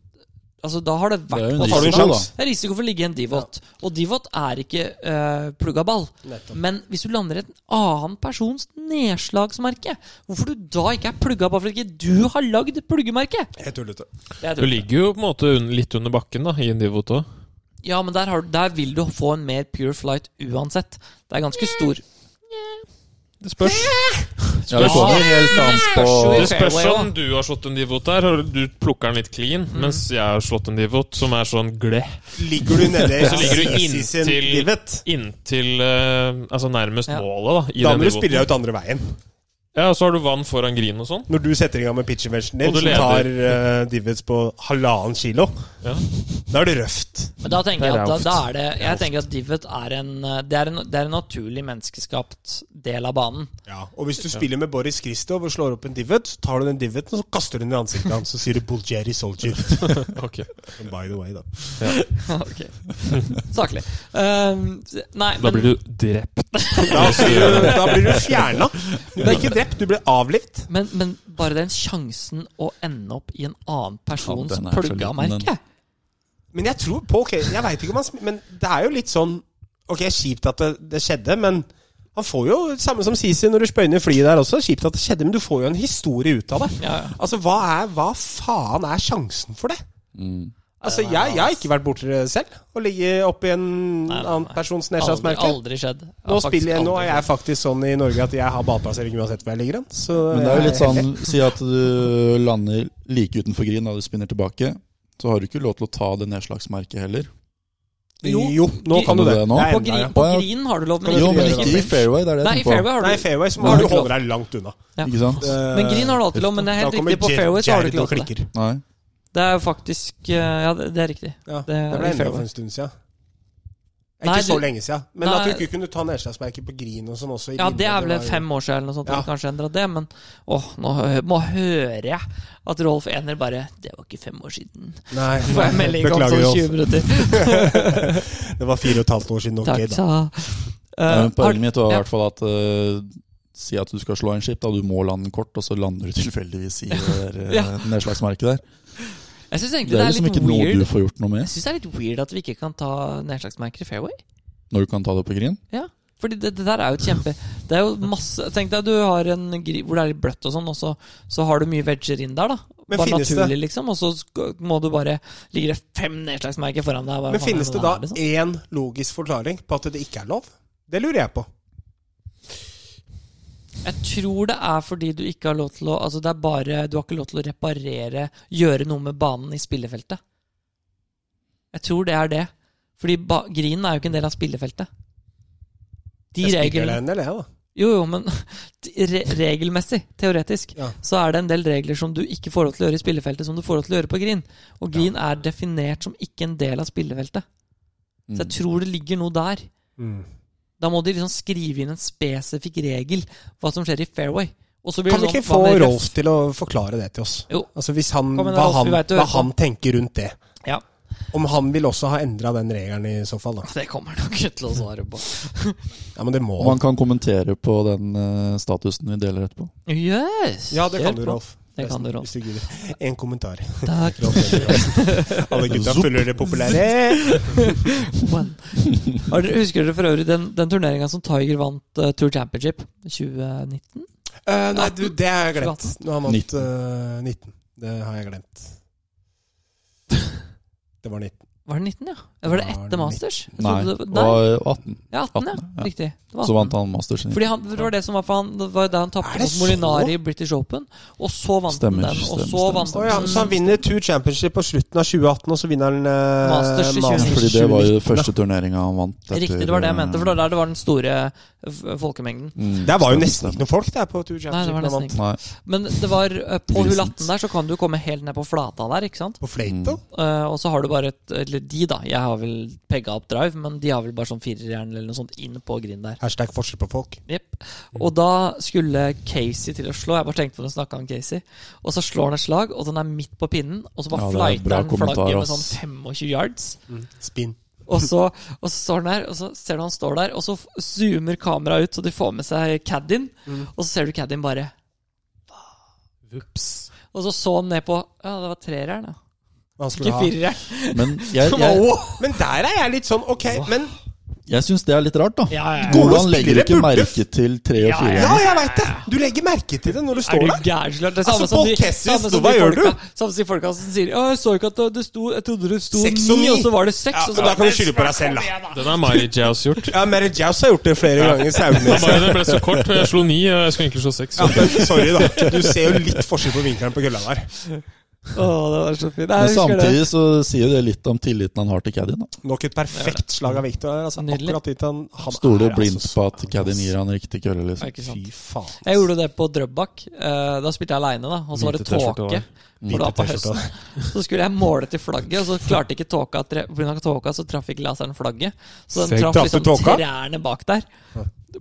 [SPEAKER 2] Altså, da har det
[SPEAKER 3] Det er
[SPEAKER 2] vært
[SPEAKER 3] jo
[SPEAKER 2] på
[SPEAKER 3] en
[SPEAKER 1] tar du en
[SPEAKER 3] risiko, da.
[SPEAKER 1] sjanse.
[SPEAKER 2] det er risiko for å ligge i en divot. Og divot er ikke uh, plugga ball.
[SPEAKER 1] Nettopp.
[SPEAKER 2] Men hvis du lander i en annen persons nedslagsmerke, hvorfor du da ikke er plugga ball fordi ikke du har lagd pluggemerke?
[SPEAKER 1] Helt tullete.
[SPEAKER 4] Du ligger jo på en måte un litt under bakken da, i en divot òg.
[SPEAKER 2] Ja, men der, har, du- der vil du få en mer pure flight uansett. Det er ganske stor.
[SPEAKER 4] Det spørs.
[SPEAKER 3] Ja, det kommer helt an på
[SPEAKER 4] Det spørs
[SPEAKER 2] Fairway,
[SPEAKER 4] om du har slått en divot der, og du plukker den litt clean,
[SPEAKER 2] Mhm.
[SPEAKER 4] mens jeg har slått en divot som er sånn gleh
[SPEAKER 1] Ligger du nedi
[SPEAKER 4] *laughs* Så ligger du
[SPEAKER 1] Sisi sin
[SPEAKER 4] inntil-
[SPEAKER 1] divot,
[SPEAKER 4] inntil eh, Altså nærmest
[SPEAKER 2] Ja.
[SPEAKER 4] målet, da. I
[SPEAKER 1] da
[SPEAKER 4] den
[SPEAKER 1] må du
[SPEAKER 4] divoten.
[SPEAKER 1] spille deg ut andre veien.
[SPEAKER 4] Ja, og så har du vann foran green og sånn.
[SPEAKER 1] Når du setter i gang med pitch-inventionen din,
[SPEAKER 4] Og du
[SPEAKER 1] som
[SPEAKER 4] leder.
[SPEAKER 1] tar eh, divots på halvannen kilo,
[SPEAKER 4] Ja.
[SPEAKER 1] da er det røft.
[SPEAKER 2] Men da tenker jeg
[SPEAKER 4] Det er
[SPEAKER 2] at da,
[SPEAKER 4] røft.
[SPEAKER 2] da er det Jeg tenker at divot er en eh, Det er en, det er en naturlig menneskeskapt del av banen.
[SPEAKER 1] Ja, og hvis du spiller med Boris Kristov og slår opp en divot, så tar du den divoten og så kaster du den i ansiktet hans og sier du 'Bulgari soldier'.
[SPEAKER 4] *laughs* Ok.
[SPEAKER 1] By the way, da.
[SPEAKER 2] *laughs* Ok. *laughs* Saklig. Um, nei,
[SPEAKER 4] Da
[SPEAKER 2] men,
[SPEAKER 4] blir du drept.
[SPEAKER 1] Da, blir du- da blir du fjerna. Du blir ikke drept, du blir avlivet.
[SPEAKER 2] men, men bare den sjansen å ende opp i en annen persons
[SPEAKER 3] den er så liten,
[SPEAKER 2] plugga merke
[SPEAKER 3] den.
[SPEAKER 1] Men jeg tror på ok, Jeg vet ikke om han sm- Men det er jo litt sånn Ok, kjipt at det, det skjedde, men han får jo det samme som Sisi når du spøyner flyet der også. Kjipt at det skjedde, men du får jo en historie ut av det.
[SPEAKER 2] ja, ja.
[SPEAKER 1] Altså, hva, er, hva faen er sjansen for det?
[SPEAKER 3] Mm.
[SPEAKER 1] Altså, jeg, jeg har ikke vært borti det selv. Å ligge oppi en
[SPEAKER 2] Nei, nei,
[SPEAKER 1] annen
[SPEAKER 2] nei.
[SPEAKER 1] persons
[SPEAKER 2] Aldri,
[SPEAKER 1] nedslagsmerke.
[SPEAKER 2] aldri skjedd. Jeg
[SPEAKER 1] Nå,
[SPEAKER 2] har faktisk
[SPEAKER 1] spiller jeg, nå
[SPEAKER 2] aldri
[SPEAKER 1] er jeg faktisk sånn i Norge at jeg har ballplassering uansett hvor jeg ligger hen. Så
[SPEAKER 3] Men det er jo
[SPEAKER 1] jeg
[SPEAKER 3] litt sånn Si at du lander like utenfor green da du spinner tilbake. Så har du ikke lov til å ta det nedslagsmerket heller.
[SPEAKER 1] *laughs* Jo,
[SPEAKER 2] Jo,
[SPEAKER 1] nå kan du det.
[SPEAKER 3] nå?
[SPEAKER 1] Jeg er
[SPEAKER 2] På,
[SPEAKER 1] enda,
[SPEAKER 2] grin,
[SPEAKER 1] ja.
[SPEAKER 2] på
[SPEAKER 3] Å, ja.
[SPEAKER 2] green har du lov, men
[SPEAKER 1] Kan
[SPEAKER 3] Jo,
[SPEAKER 2] ikke,
[SPEAKER 3] men ikke i fairway. Det er det
[SPEAKER 2] Nei, i
[SPEAKER 3] jeg tenker på.
[SPEAKER 2] fairway Eh, har du
[SPEAKER 1] Nei, fairway så
[SPEAKER 2] Da
[SPEAKER 1] må
[SPEAKER 2] har
[SPEAKER 1] du
[SPEAKER 2] du ikke
[SPEAKER 1] holde deg langt unna.
[SPEAKER 3] Ikke sant?
[SPEAKER 2] Men green har du alltid lov, men det er
[SPEAKER 1] Da
[SPEAKER 2] helt
[SPEAKER 1] kommer
[SPEAKER 2] riktig. På
[SPEAKER 1] Jer-
[SPEAKER 2] fairway så har du
[SPEAKER 1] Jared og
[SPEAKER 2] ikke lov til det.
[SPEAKER 1] klikker.
[SPEAKER 3] Nei.
[SPEAKER 2] Det er jo faktisk eh, Ja, det, det er riktig.
[SPEAKER 1] Ja,
[SPEAKER 2] Det
[SPEAKER 1] det
[SPEAKER 2] er
[SPEAKER 1] ble
[SPEAKER 2] i
[SPEAKER 1] enda
[SPEAKER 2] fairway.
[SPEAKER 1] for en stund siden. Ikke
[SPEAKER 2] Nei,
[SPEAKER 1] så
[SPEAKER 2] du-
[SPEAKER 1] lenge siden. Men
[SPEAKER 2] Nei.
[SPEAKER 1] at du ikke kunne ta nedslagsmerker på green og sånn også. i
[SPEAKER 2] Ja,
[SPEAKER 1] vinduet,
[SPEAKER 2] det er vel
[SPEAKER 1] var jo-
[SPEAKER 2] fem år siden eller noe sånt.
[SPEAKER 1] Ja.
[SPEAKER 2] Ja. Kanskje endra det, men åh, nå hø må hører jeg at Rolf Ener bare Det var ikke fem år siden.
[SPEAKER 1] Nei,
[SPEAKER 2] *laughs*
[SPEAKER 1] *laughs*
[SPEAKER 2] Får jeg melding om
[SPEAKER 1] beklager,
[SPEAKER 2] sånn
[SPEAKER 1] Rolf.
[SPEAKER 2] 20
[SPEAKER 1] *laughs*
[SPEAKER 2] minutter.
[SPEAKER 1] Det var fire og et halvt år siden. *laughs* ok,
[SPEAKER 2] Takk,
[SPEAKER 1] da.
[SPEAKER 2] sa
[SPEAKER 3] Nei,
[SPEAKER 2] Eh,
[SPEAKER 3] men Poenget mitt var i
[SPEAKER 2] ja.
[SPEAKER 3] hvert fall at eh, Si at du skal slå en skip, da du må lande kort, og så lander du tilfeldigvis i det der, eh,
[SPEAKER 2] Ja.
[SPEAKER 3] nedslagsmerket der.
[SPEAKER 2] har- Jeg syns egentlig det
[SPEAKER 3] Det er
[SPEAKER 2] er,
[SPEAKER 3] liksom
[SPEAKER 2] litt
[SPEAKER 3] ikke noe
[SPEAKER 2] weird
[SPEAKER 3] du får gjort noe
[SPEAKER 2] Jeg
[SPEAKER 3] med
[SPEAKER 2] synes det er litt weird at vi ikke kan ta nedslagsmerker i fairway.
[SPEAKER 3] når du kan ta det på green.
[SPEAKER 2] Fordi det, det der er jo et
[SPEAKER 1] *laughs*
[SPEAKER 2] kjempe Det er jo masse Tenk deg du har en gri hvor det er litt bløtt og sånn, og så, så har du mye vegger inn der, da.
[SPEAKER 1] Men
[SPEAKER 2] bare
[SPEAKER 1] finnes det-
[SPEAKER 2] naturlig, liksom. Og så sk- må du bare Ligger det fem nedslagsmerker foran deg. Bare,
[SPEAKER 1] Men
[SPEAKER 2] faen,
[SPEAKER 1] finnes
[SPEAKER 2] er
[SPEAKER 1] det
[SPEAKER 2] her,
[SPEAKER 1] da
[SPEAKER 2] liksom?
[SPEAKER 1] én logisk forklaring på at det ikke er lov? Det lurer jeg på.
[SPEAKER 2] Jeg tror det er fordi du ikke har lov til å Altså det er bare Du har ikke lov til å reparere Gjøre noe med banen i spillefeltet. Jeg tror det er det. Fordi ba, grinen er jo ikke en del av spillefeltet. De
[SPEAKER 1] Jeg spiller
[SPEAKER 2] reglene
[SPEAKER 1] det en del, jeg, da.
[SPEAKER 2] Jo, jo, men *laughs* t- re regelmessig, teoretisk,
[SPEAKER 1] Ja.
[SPEAKER 2] så er det en del regler som du ikke får lov til å gjøre i spillefeltet, som du får lov til å gjøre på green. Og green er definert som ikke en del av spillefeltet.
[SPEAKER 1] Mm.
[SPEAKER 2] Så jeg tror det ligger noe der. Da må de liksom skrive inn en spesifikk regel, hva som skjer i fairway. Og så blir
[SPEAKER 1] Kan vi
[SPEAKER 2] det
[SPEAKER 1] ikke
[SPEAKER 2] sånn,
[SPEAKER 1] få
[SPEAKER 2] hva med ref?
[SPEAKER 1] Rolf til å forklare det til oss?
[SPEAKER 2] Jo.
[SPEAKER 1] Altså hvis han,
[SPEAKER 2] Kom igjen,
[SPEAKER 1] hva,
[SPEAKER 2] Rolf, vi
[SPEAKER 1] han,
[SPEAKER 2] vet du
[SPEAKER 1] hva
[SPEAKER 2] hører på.
[SPEAKER 1] han tenker rundt det.
[SPEAKER 2] Ja.
[SPEAKER 1] Om han vil også ha endra den regelen i så fall, da.
[SPEAKER 2] Det kommer han nok ikke til å svare på.
[SPEAKER 1] Ja, men det må
[SPEAKER 3] Og Mm. man kan kommentere på den eh, statusen vi deler etterpå.
[SPEAKER 2] Yes!
[SPEAKER 1] Ja, det
[SPEAKER 2] kjør
[SPEAKER 1] kan du,
[SPEAKER 2] på.
[SPEAKER 1] Rolf.
[SPEAKER 2] Det kan du, Rolf.
[SPEAKER 1] Hvis du gidder. En kommentar.
[SPEAKER 2] Takk.
[SPEAKER 1] Rolf
[SPEAKER 2] *laughs*
[SPEAKER 1] Ebbelåsen. Alle gutta følger det populære.
[SPEAKER 2] One. Har dere- Husker dere for øvrig den, den turneringa som Tiger vant eh, Tour Championship 2019?
[SPEAKER 1] Eh, nei, du, det har jeg glemt. Nå har man hatt
[SPEAKER 3] 19. *laughs*
[SPEAKER 1] eh, 19. Det har jeg glemt. Det var 19.
[SPEAKER 2] Var det 19, ja? Det var det
[SPEAKER 1] Var det
[SPEAKER 2] etter Masters? Jeg
[SPEAKER 3] Nei,
[SPEAKER 2] trodde
[SPEAKER 3] det
[SPEAKER 2] det var, nei,
[SPEAKER 3] var 18.
[SPEAKER 2] ja, 18,
[SPEAKER 3] 18,
[SPEAKER 2] ja.
[SPEAKER 3] ja.
[SPEAKER 2] Riktig. Det var
[SPEAKER 3] Så
[SPEAKER 2] 18.
[SPEAKER 3] vant han Masters.
[SPEAKER 2] Fordi han, det var det som var for han Det var da han
[SPEAKER 1] Er
[SPEAKER 2] tapte
[SPEAKER 1] det
[SPEAKER 2] mot
[SPEAKER 1] så?
[SPEAKER 2] Molinari i British Open, og så vant
[SPEAKER 3] Stemmer,
[SPEAKER 2] han den, og
[SPEAKER 3] stemmer,
[SPEAKER 2] så
[SPEAKER 3] stemmer,
[SPEAKER 2] vant
[SPEAKER 1] Å ja,
[SPEAKER 2] han
[SPEAKER 1] så han vinner Tour Championship på slutten av 2018, og så vinner han eh,
[SPEAKER 2] Masters i
[SPEAKER 3] Ja, Fordi det var jo den første turneringa han vant.
[SPEAKER 2] Riktig, det var det jeg mente, for det var der det var den store f- folkemengden.
[SPEAKER 3] Mm,
[SPEAKER 1] Der var jo
[SPEAKER 3] stemmer,
[SPEAKER 1] nesten ikke noen folk der på Tour
[SPEAKER 2] Nei, det
[SPEAKER 1] Championship.
[SPEAKER 2] var
[SPEAKER 1] når han
[SPEAKER 2] nesten
[SPEAKER 1] vant.
[SPEAKER 2] ikke
[SPEAKER 3] Nei,
[SPEAKER 2] Men det var eh, på hull
[SPEAKER 3] Grisent.
[SPEAKER 2] 18 der, så kan du komme helt ned på flata der, ikke sant?
[SPEAKER 1] På
[SPEAKER 3] Mm.
[SPEAKER 1] Flatel?
[SPEAKER 2] Eh, og så har du bare et Eller de, da. Jeg har vel pegga opp drive, men de har vel bare sånn firerjern eller noe sånt inn på grind der.
[SPEAKER 1] Hashtag forskjell på folk.
[SPEAKER 2] Jepp.
[SPEAKER 3] Mm.
[SPEAKER 2] Og da skulle Casey til å slå. Jeg bare tenkte på det, snakket om Casey. Og så slår han et slag, og den er midt på pinnen. Og så bare
[SPEAKER 3] Ja, det er
[SPEAKER 2] flighter
[SPEAKER 3] bra
[SPEAKER 2] han flagget
[SPEAKER 3] kommentar,
[SPEAKER 2] med sånn
[SPEAKER 3] ass.
[SPEAKER 2] 25 yards.
[SPEAKER 1] Spin.
[SPEAKER 2] Og så, og så står han der, og så ser du han står der, og så f- zoomer kameraet ut, så de får med seg caddien.
[SPEAKER 1] Mm.
[SPEAKER 2] Og så ser du caddien bare
[SPEAKER 4] Vups.
[SPEAKER 2] Og så så han ned på Ja, det var trerjern, ja.
[SPEAKER 1] Hva skulle
[SPEAKER 2] Ikke
[SPEAKER 1] du ha?
[SPEAKER 2] firerjern.
[SPEAKER 3] Men jeg,
[SPEAKER 2] Som
[SPEAKER 3] jeg,
[SPEAKER 1] Men der er jeg litt sånn Ok, men
[SPEAKER 3] jeg syns det er litt rart, da.
[SPEAKER 2] Ja, ja, ja.
[SPEAKER 3] Hvordan legger du ikke
[SPEAKER 1] spillere burde-
[SPEAKER 3] merke til tre og
[SPEAKER 2] Ja,
[SPEAKER 3] fire?
[SPEAKER 1] Ja, jeg veit det! Du legger merke til det når du
[SPEAKER 2] Er
[SPEAKER 1] står
[SPEAKER 2] du
[SPEAKER 1] der.
[SPEAKER 2] gæren? Slart? Det sånn er
[SPEAKER 1] Altså, Paul Casey
[SPEAKER 2] samme
[SPEAKER 1] sto-
[SPEAKER 2] som de
[SPEAKER 1] hva gjør
[SPEAKER 2] folka, samme som de folka som sier «Å, 'Jeg så ikke at det- det sto Jeg trodde det sto
[SPEAKER 1] Seks og
[SPEAKER 2] 9,
[SPEAKER 1] ni.
[SPEAKER 2] og så var det 6.' og så
[SPEAKER 1] da kan du skylde på deg selv, da.
[SPEAKER 4] Den har Mari Jaus gjort.
[SPEAKER 1] Ja, Mary Jaus har gjort det flere ganger.
[SPEAKER 4] Den
[SPEAKER 1] Saunes.
[SPEAKER 4] bare- Den ble så kort, og jeg slo ni. og Jeg skulle egentlig slå seks.
[SPEAKER 1] Ja, men sorry, da. Du ser jo litt forskjell på vinkelen på kølla der.
[SPEAKER 2] Å, det var så fint. Nei,
[SPEAKER 3] Men
[SPEAKER 2] jeg husker det.
[SPEAKER 3] samtidig så sier jo det litt om tilliten han har til caddien. da.
[SPEAKER 1] Nok et perfekt slag av Victor. her, Altså,
[SPEAKER 2] Nydelig.
[SPEAKER 1] akkurat dit han, han
[SPEAKER 3] Stoler
[SPEAKER 1] er,
[SPEAKER 3] blindt
[SPEAKER 1] altså,
[SPEAKER 3] på at caddien gir han riktig kølle,
[SPEAKER 2] Ja,
[SPEAKER 3] liksom.
[SPEAKER 2] ikke sant.
[SPEAKER 1] Fy faen.
[SPEAKER 2] Jeg gjorde det på Drøbak. Eh, Da spilte jeg aleine, da. Og så var det
[SPEAKER 4] Hvite T-skjorte
[SPEAKER 2] tåke. For det var på
[SPEAKER 1] Hvite T-skjorte.
[SPEAKER 2] høsten. Så skulle jeg måle til flagget, og så klarte ikke tåka å tre- på grunn av tåka, så traff ikke laseren flagget. Så den
[SPEAKER 1] Ser-
[SPEAKER 2] traff
[SPEAKER 1] traff
[SPEAKER 2] liksom
[SPEAKER 1] du tåka?
[SPEAKER 2] trærne bak der.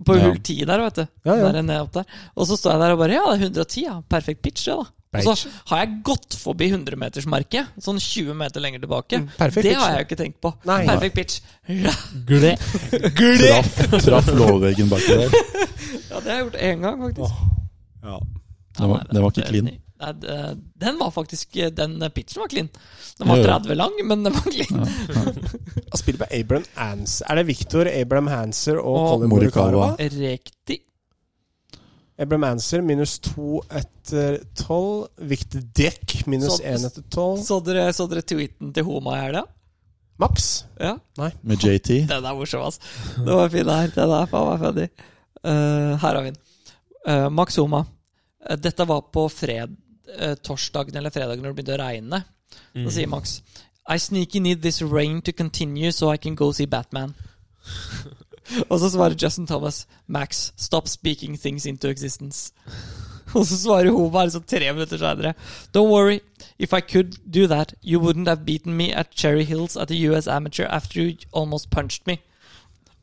[SPEAKER 2] På hull 10 der, vet du.
[SPEAKER 1] Ja, ja.
[SPEAKER 2] Der nede opp der. Og så står jeg der og bare Ja, det er 110, ja. Perfekt pitch, ja da. Og så har jeg gått forbi 100-metersmerket, sånn 20 meter lenger tilbake.
[SPEAKER 1] Mm, perfekt
[SPEAKER 2] det
[SPEAKER 1] pitch,
[SPEAKER 2] har
[SPEAKER 1] ja.
[SPEAKER 2] jeg jo ikke tenkt på.
[SPEAKER 1] Nei.
[SPEAKER 2] Perfekt pitch. *laughs* Ja,
[SPEAKER 3] Traff, traff lårveggen baki der.
[SPEAKER 2] det har jeg gjort én gang, faktisk.
[SPEAKER 1] Ja.
[SPEAKER 3] Den var, den var ikke clean.
[SPEAKER 2] Nei, det- Den var faktisk Den pitchen var clean. Den var
[SPEAKER 3] Ja, ja.
[SPEAKER 2] 30 lang, men den var clean.
[SPEAKER 1] Han spiller med Abraham Hans. Er det Victor, Abraham Hanser og,
[SPEAKER 2] Og
[SPEAKER 1] Colin
[SPEAKER 3] Morikawa.
[SPEAKER 1] Morikawa?
[SPEAKER 2] Riktig.
[SPEAKER 1] Abraham Hanser minus to etter tolv. Victor Dekk minus
[SPEAKER 2] Så-
[SPEAKER 1] én etter tolv.
[SPEAKER 2] Så dere, så dere tweeten til Homa i helga?
[SPEAKER 1] Maks.
[SPEAKER 2] Ja.
[SPEAKER 3] Med JT.
[SPEAKER 2] Den er morsom, ass. Det var fin her. Den er faen meg funny. Eh, her har vi den. Eh, Max Homa. Eh, dette var på fred, eh, torsdagen eller fredagen når det begynte å regne.
[SPEAKER 4] Mm.
[SPEAKER 2] Så sier Max I sneaky need this rain to continue so I can go see Batman. Og så svarer Justin Thomas Max, stop speaking things into existence. Og så svarer Homa liksom tre minutter senere Don't worry, if I could do that, you wouldn't have beaten me at Cherry Hills at the US Amateur after you almost punched me.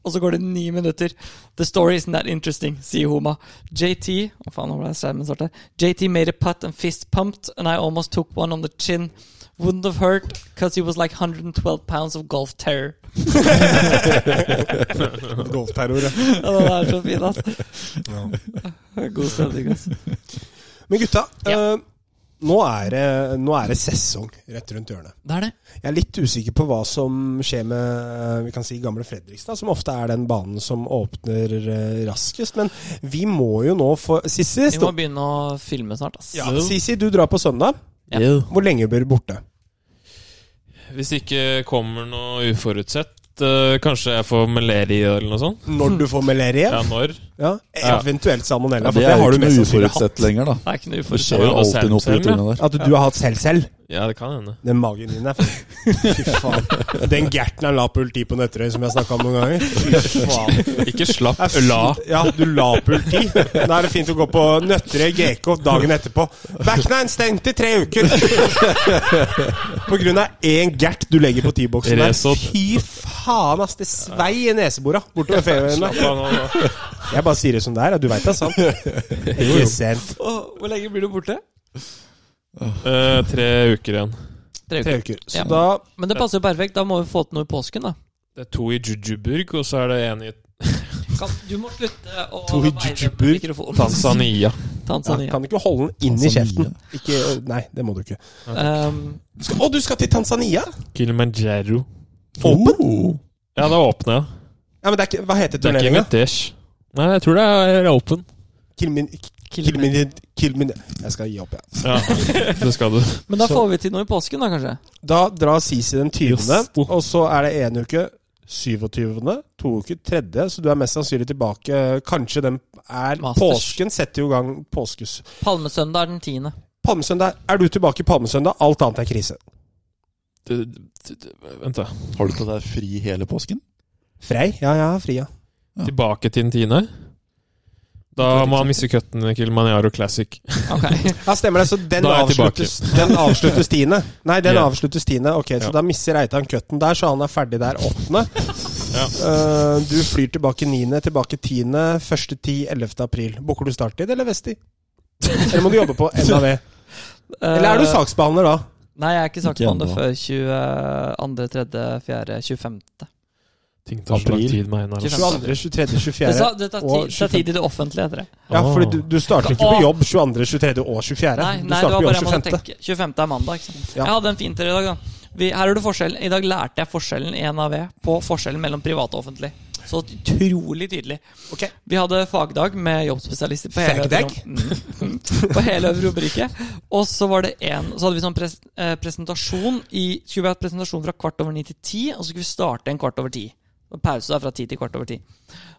[SPEAKER 2] Og så går det ni minutter. The story isn't that interesting, sier Homa. JT Å faen, nå ble jeg skjermen svart her. JT made a putt and fist pumped, and I almost took one on the chin. Wouldn't have hurt, cause he was like 112 pounds of golf terror. *laughs*
[SPEAKER 1] Golfterror. ja.
[SPEAKER 2] Ja, den er så fin, ass. *laughs* God stemning, ass.
[SPEAKER 1] Men gutta,
[SPEAKER 2] Ja.
[SPEAKER 1] eh, nå, er det, nå er det sesong rett rundt hjørnet.
[SPEAKER 2] Det er det.
[SPEAKER 1] Jeg er litt usikker på hva som skjer med eh, vi kan si, gamle Fredrikstad, som ofte er den banen som åpner eh, raskest. Men vi må jo nå få Sissi,
[SPEAKER 2] Vi
[SPEAKER 1] stå,
[SPEAKER 2] må begynne å filme snart, ass.
[SPEAKER 1] ja, Sissi, du drar på søndag. Hvor lenge blir du borte?
[SPEAKER 4] Hvis det ikke kommer noe uforutsett, eh, kanskje jeg får malaria eller noe sånt?
[SPEAKER 1] Når du får malaria?
[SPEAKER 4] Ja, når?
[SPEAKER 1] Ja, eventuelt salmonella.
[SPEAKER 3] Ja,
[SPEAKER 1] for
[SPEAKER 3] det er jo
[SPEAKER 1] har du
[SPEAKER 3] ikke
[SPEAKER 1] mest
[SPEAKER 3] noe
[SPEAKER 1] sannsynlig
[SPEAKER 3] uforutsett
[SPEAKER 1] hatt.
[SPEAKER 3] lenger, da.
[SPEAKER 2] Det er ikke noe
[SPEAKER 3] Det
[SPEAKER 2] uforutsett.
[SPEAKER 3] skjer jo alltid noe på de turene der.
[SPEAKER 1] At du har hatt selv selv?
[SPEAKER 4] Ja, det kan hende.
[SPEAKER 1] Den magen din er Fy faen. Den gerten han la på ulti på Nøtterøy, som jeg har snakka om noen ganger. Fy faen.
[SPEAKER 4] Ikke slapp
[SPEAKER 1] Det er fint.
[SPEAKER 4] la.
[SPEAKER 1] Ja, du la på ulti. Da er det fint å gå på Nøtterøy GK dagen etterpå. Backnine stengt i tre uker! På grunn av én gert du legger på T-boksen der.
[SPEAKER 4] Resod.
[SPEAKER 1] Fy faen, ass. Det svei i nesebora bortover Feøyene.
[SPEAKER 4] Slapp av nå, da.
[SPEAKER 1] Jeg bare sier det som det er. ja, Du veit det er sant. Ikke sent.
[SPEAKER 2] Åh, Hvor lenge blir du borte?
[SPEAKER 4] Eh, tre uker igjen.
[SPEAKER 2] Tre
[SPEAKER 1] Tre
[SPEAKER 2] uker.
[SPEAKER 1] uker. Så
[SPEAKER 2] Ja.
[SPEAKER 1] da
[SPEAKER 2] Men det passer jo perfekt. Da må vi få til noe i påsken, da.
[SPEAKER 4] Det er to i Jujuburg, og så er det en i
[SPEAKER 2] Kan, du må slutte å
[SPEAKER 1] To i Djibouti.
[SPEAKER 4] Tanzania.
[SPEAKER 1] Ja,
[SPEAKER 2] Tanzania.
[SPEAKER 1] kan du ikke holde den inn i
[SPEAKER 3] Tanzania.
[SPEAKER 1] kjeften? Ikke, nei, det må du ikke.
[SPEAKER 2] Ehm,
[SPEAKER 1] Skal, å, du skal til Tanzania?
[SPEAKER 4] Kilimanjaro.
[SPEAKER 1] Åpen?
[SPEAKER 3] Oh.
[SPEAKER 4] Ja, det er åpne, ja.
[SPEAKER 1] Ja, men det er ikke, Hva heter
[SPEAKER 4] Det er ikke
[SPEAKER 1] turneringa?
[SPEAKER 4] Mitesh. Nei, jeg tror det er open.
[SPEAKER 1] Kilmin... Kilmin... Kilmin... Jeg skal gi opp, jeg.
[SPEAKER 4] *laughs* Ja, det skal du.
[SPEAKER 2] men da
[SPEAKER 1] Så-
[SPEAKER 2] får vi til noe i påsken, da, kanskje?
[SPEAKER 1] Da drar Sisi den 20.,
[SPEAKER 4] Justo.
[SPEAKER 1] og så er det en uke 27., to uker 3., så du er mest sannsynlig tilbake Kanskje den er
[SPEAKER 2] Masters.
[SPEAKER 1] Påsken setter jo i gang påskes.
[SPEAKER 2] Palmesøndag er den tiende.
[SPEAKER 1] Palmesøndag. Er du tilbake palmesøndag? Alt annet er krise.
[SPEAKER 4] Du- du- du- Vent, da.
[SPEAKER 3] Har du tatt deg fri hele påsken?
[SPEAKER 1] Frei? Ja, ja, fri, ja.
[SPEAKER 4] Tilbake til den tiende. Da må han miste cutten i Kilimanjaro Classic.
[SPEAKER 2] Ok.
[SPEAKER 1] Ja, stemmer det. Så den
[SPEAKER 4] Da er jeg
[SPEAKER 1] avsluttes, den avsluttes tiende. Nei, den
[SPEAKER 4] Ja.
[SPEAKER 1] avsluttes tiende. Ok, så
[SPEAKER 4] Ja.
[SPEAKER 1] da misser Reitan cutten der, så han er ferdig der åttende.
[SPEAKER 4] Ja.
[SPEAKER 1] Eh, du flyr tilbake niende, tilbake tiende, første ti, ellevte april. Booker du starttid eller vesttid? Eller må du jobbe på NAV? *laughs* Eller er du
[SPEAKER 2] Eh,
[SPEAKER 1] saksbehandler da?
[SPEAKER 2] Nei, jeg er ikke saksbehandler
[SPEAKER 3] ennå.
[SPEAKER 2] før 22., 3., 4., 25.
[SPEAKER 4] Ting tar så lang
[SPEAKER 3] April.
[SPEAKER 4] tid med Einar. altså.
[SPEAKER 1] 22., 23.,
[SPEAKER 2] Det,
[SPEAKER 1] 24.
[SPEAKER 2] sa, det tar
[SPEAKER 1] og
[SPEAKER 2] tid, det tar tid i det offentlige, heter det.
[SPEAKER 1] Ja, fordi du, du starter ikke på
[SPEAKER 2] Åh.
[SPEAKER 1] jobb 22., 23. og 24.
[SPEAKER 2] Nei,
[SPEAKER 1] Du
[SPEAKER 2] nei det
[SPEAKER 1] starter
[SPEAKER 2] var
[SPEAKER 1] på
[SPEAKER 2] bare
[SPEAKER 1] jobb
[SPEAKER 2] jeg måtte
[SPEAKER 1] 25.
[SPEAKER 2] tenke. 25. er mandag. Ikke sant?
[SPEAKER 1] Ja.
[SPEAKER 2] Jeg hadde en fin tur i dag, da. Vi, her er det forskjellen. I dag lærte jeg forskjellen i NAV på forskjellen mellom privat og offentlig. Så utrolig tydelig.
[SPEAKER 1] Ok.
[SPEAKER 2] Vi hadde fagdag med jobbspesialister på hele,
[SPEAKER 1] Fagdag?
[SPEAKER 2] øvre- Mm. på hele øvre rubrike. Og så var det en, så hadde vi sånn pres, eh, presentasjon i, Skulle vi hatt presentasjon fra kvart over ni til ti, og så skulle vi starte en kvart over ti. Og Pause da fra ti til kvart over ti.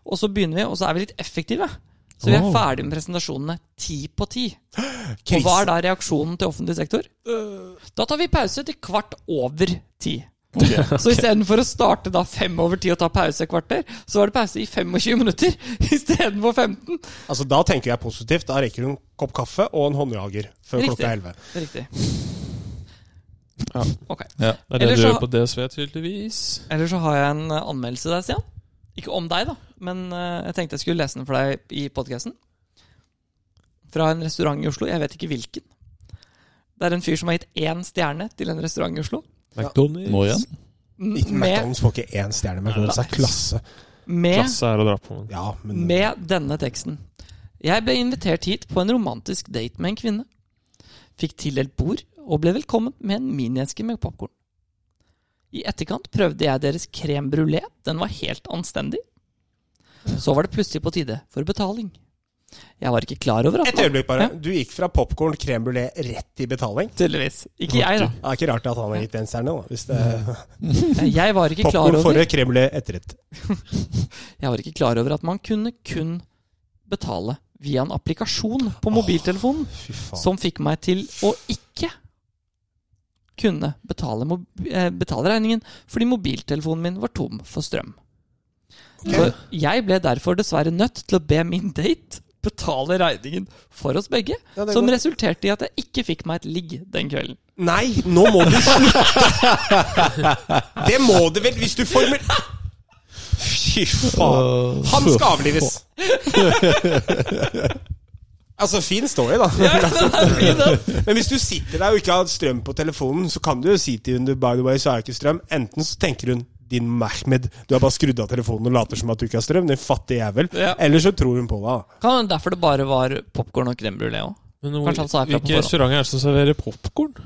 [SPEAKER 2] Og så begynner vi, og så er vi litt effektive. Så vi er
[SPEAKER 4] Oh.
[SPEAKER 2] ferdig med presentasjonene ti på ti. Og hva
[SPEAKER 1] Krise.
[SPEAKER 2] er da reaksjonen til offentlig sektor? Da tar vi pause til kvart over ti. *laughs* Så istedenfor å starte da fem over ti og ta pause et kvarter, så var det pause i 25 minutter *laughs* istedenfor 15.
[SPEAKER 1] Altså, da tenker jeg positivt. Da rekker du en kopp kaffe og en håndjager før
[SPEAKER 2] Riktig.
[SPEAKER 1] klokka er 11.
[SPEAKER 2] Riktig.
[SPEAKER 4] Ja.
[SPEAKER 2] Ok.
[SPEAKER 3] Ja.
[SPEAKER 4] Det er det
[SPEAKER 2] Ellers
[SPEAKER 4] du
[SPEAKER 2] så-
[SPEAKER 4] gjør på DSV, tydeligvis.
[SPEAKER 2] Eller så har jeg en eh, anmeldelse der, Stian. Ikke om deg, da, men eh, jeg tenkte jeg skulle lese den for deg i podkasten. Fra en restaurant i Oslo. Jeg vet ikke hvilken. Det er en fyr som har gitt én stjerne til en restaurant i Oslo.
[SPEAKER 4] McDonald's.
[SPEAKER 3] Nå igjen?
[SPEAKER 1] Ikke
[SPEAKER 2] Med,
[SPEAKER 1] McDonald's får ikke én stjerne, men det er klasse.
[SPEAKER 2] med
[SPEAKER 4] Klasse er å dra på.
[SPEAKER 1] Ja, men
[SPEAKER 2] med denne teksten. Jeg ble invitert hit på en romantisk date med en kvinne. Fikk tildelt bord og ble velkommen med en minieske med popkorn. I etterkant prøvde jeg deres crème brulé. Den var helt anstendig. Så var det plutselig på tide for betaling. Jeg var ikke klar over at
[SPEAKER 1] Et øyeblikk, bare.
[SPEAKER 2] Ja.
[SPEAKER 1] Du gikk fra popkorn, crème brulé rett i betaling.
[SPEAKER 2] Tydeligvis. Ikke jeg, da.
[SPEAKER 1] Det er ikke rart at han har gitt en stjerne, da. Hvis det
[SPEAKER 2] Jeg var Mm. ikke klar
[SPEAKER 1] popkorn
[SPEAKER 2] over
[SPEAKER 1] forrige, crème brulé etterrett.
[SPEAKER 2] Jeg var ikke klar over at man kunne kun betale via en applikasjon på mobiltelefonen,
[SPEAKER 1] Fy faen.
[SPEAKER 2] som fikk meg til å ikke kunne betale, mo- eh, betale regningen fordi mobiltelefonen min var tom for strøm. Så jeg ble derfor dessverre nødt til å be min date betale regningen for oss begge,
[SPEAKER 1] Ja, det er
[SPEAKER 2] som
[SPEAKER 1] godt.
[SPEAKER 2] resulterte i at jeg ikke fikk meg et ligg den
[SPEAKER 1] *laughs*
[SPEAKER 2] kvelden.
[SPEAKER 1] Nei, nå må du slutte! Det må du vel, hvis du former Fy faen. Han skal avlives. Altså, fin story, da. Men hvis du sitter der og ikke har strøm på telefonen, så kan du jo si til hun du, by the way, så har jeg ikke strøm. Enten så tenker hun din Mehmed, du har bare skrudd av telefonen og later som at du ikke har strøm. Din fattige jævel.
[SPEAKER 2] Ja.
[SPEAKER 1] Eller så tror hun på deg. da.
[SPEAKER 2] Kan være derfor det bare var popkorn og crème brulé òg.
[SPEAKER 4] Men
[SPEAKER 2] Kanskje han sa
[SPEAKER 4] hvor,
[SPEAKER 2] ifra på
[SPEAKER 4] hvilke
[SPEAKER 2] forhånd.
[SPEAKER 4] restauranter er det som serverer popkorn?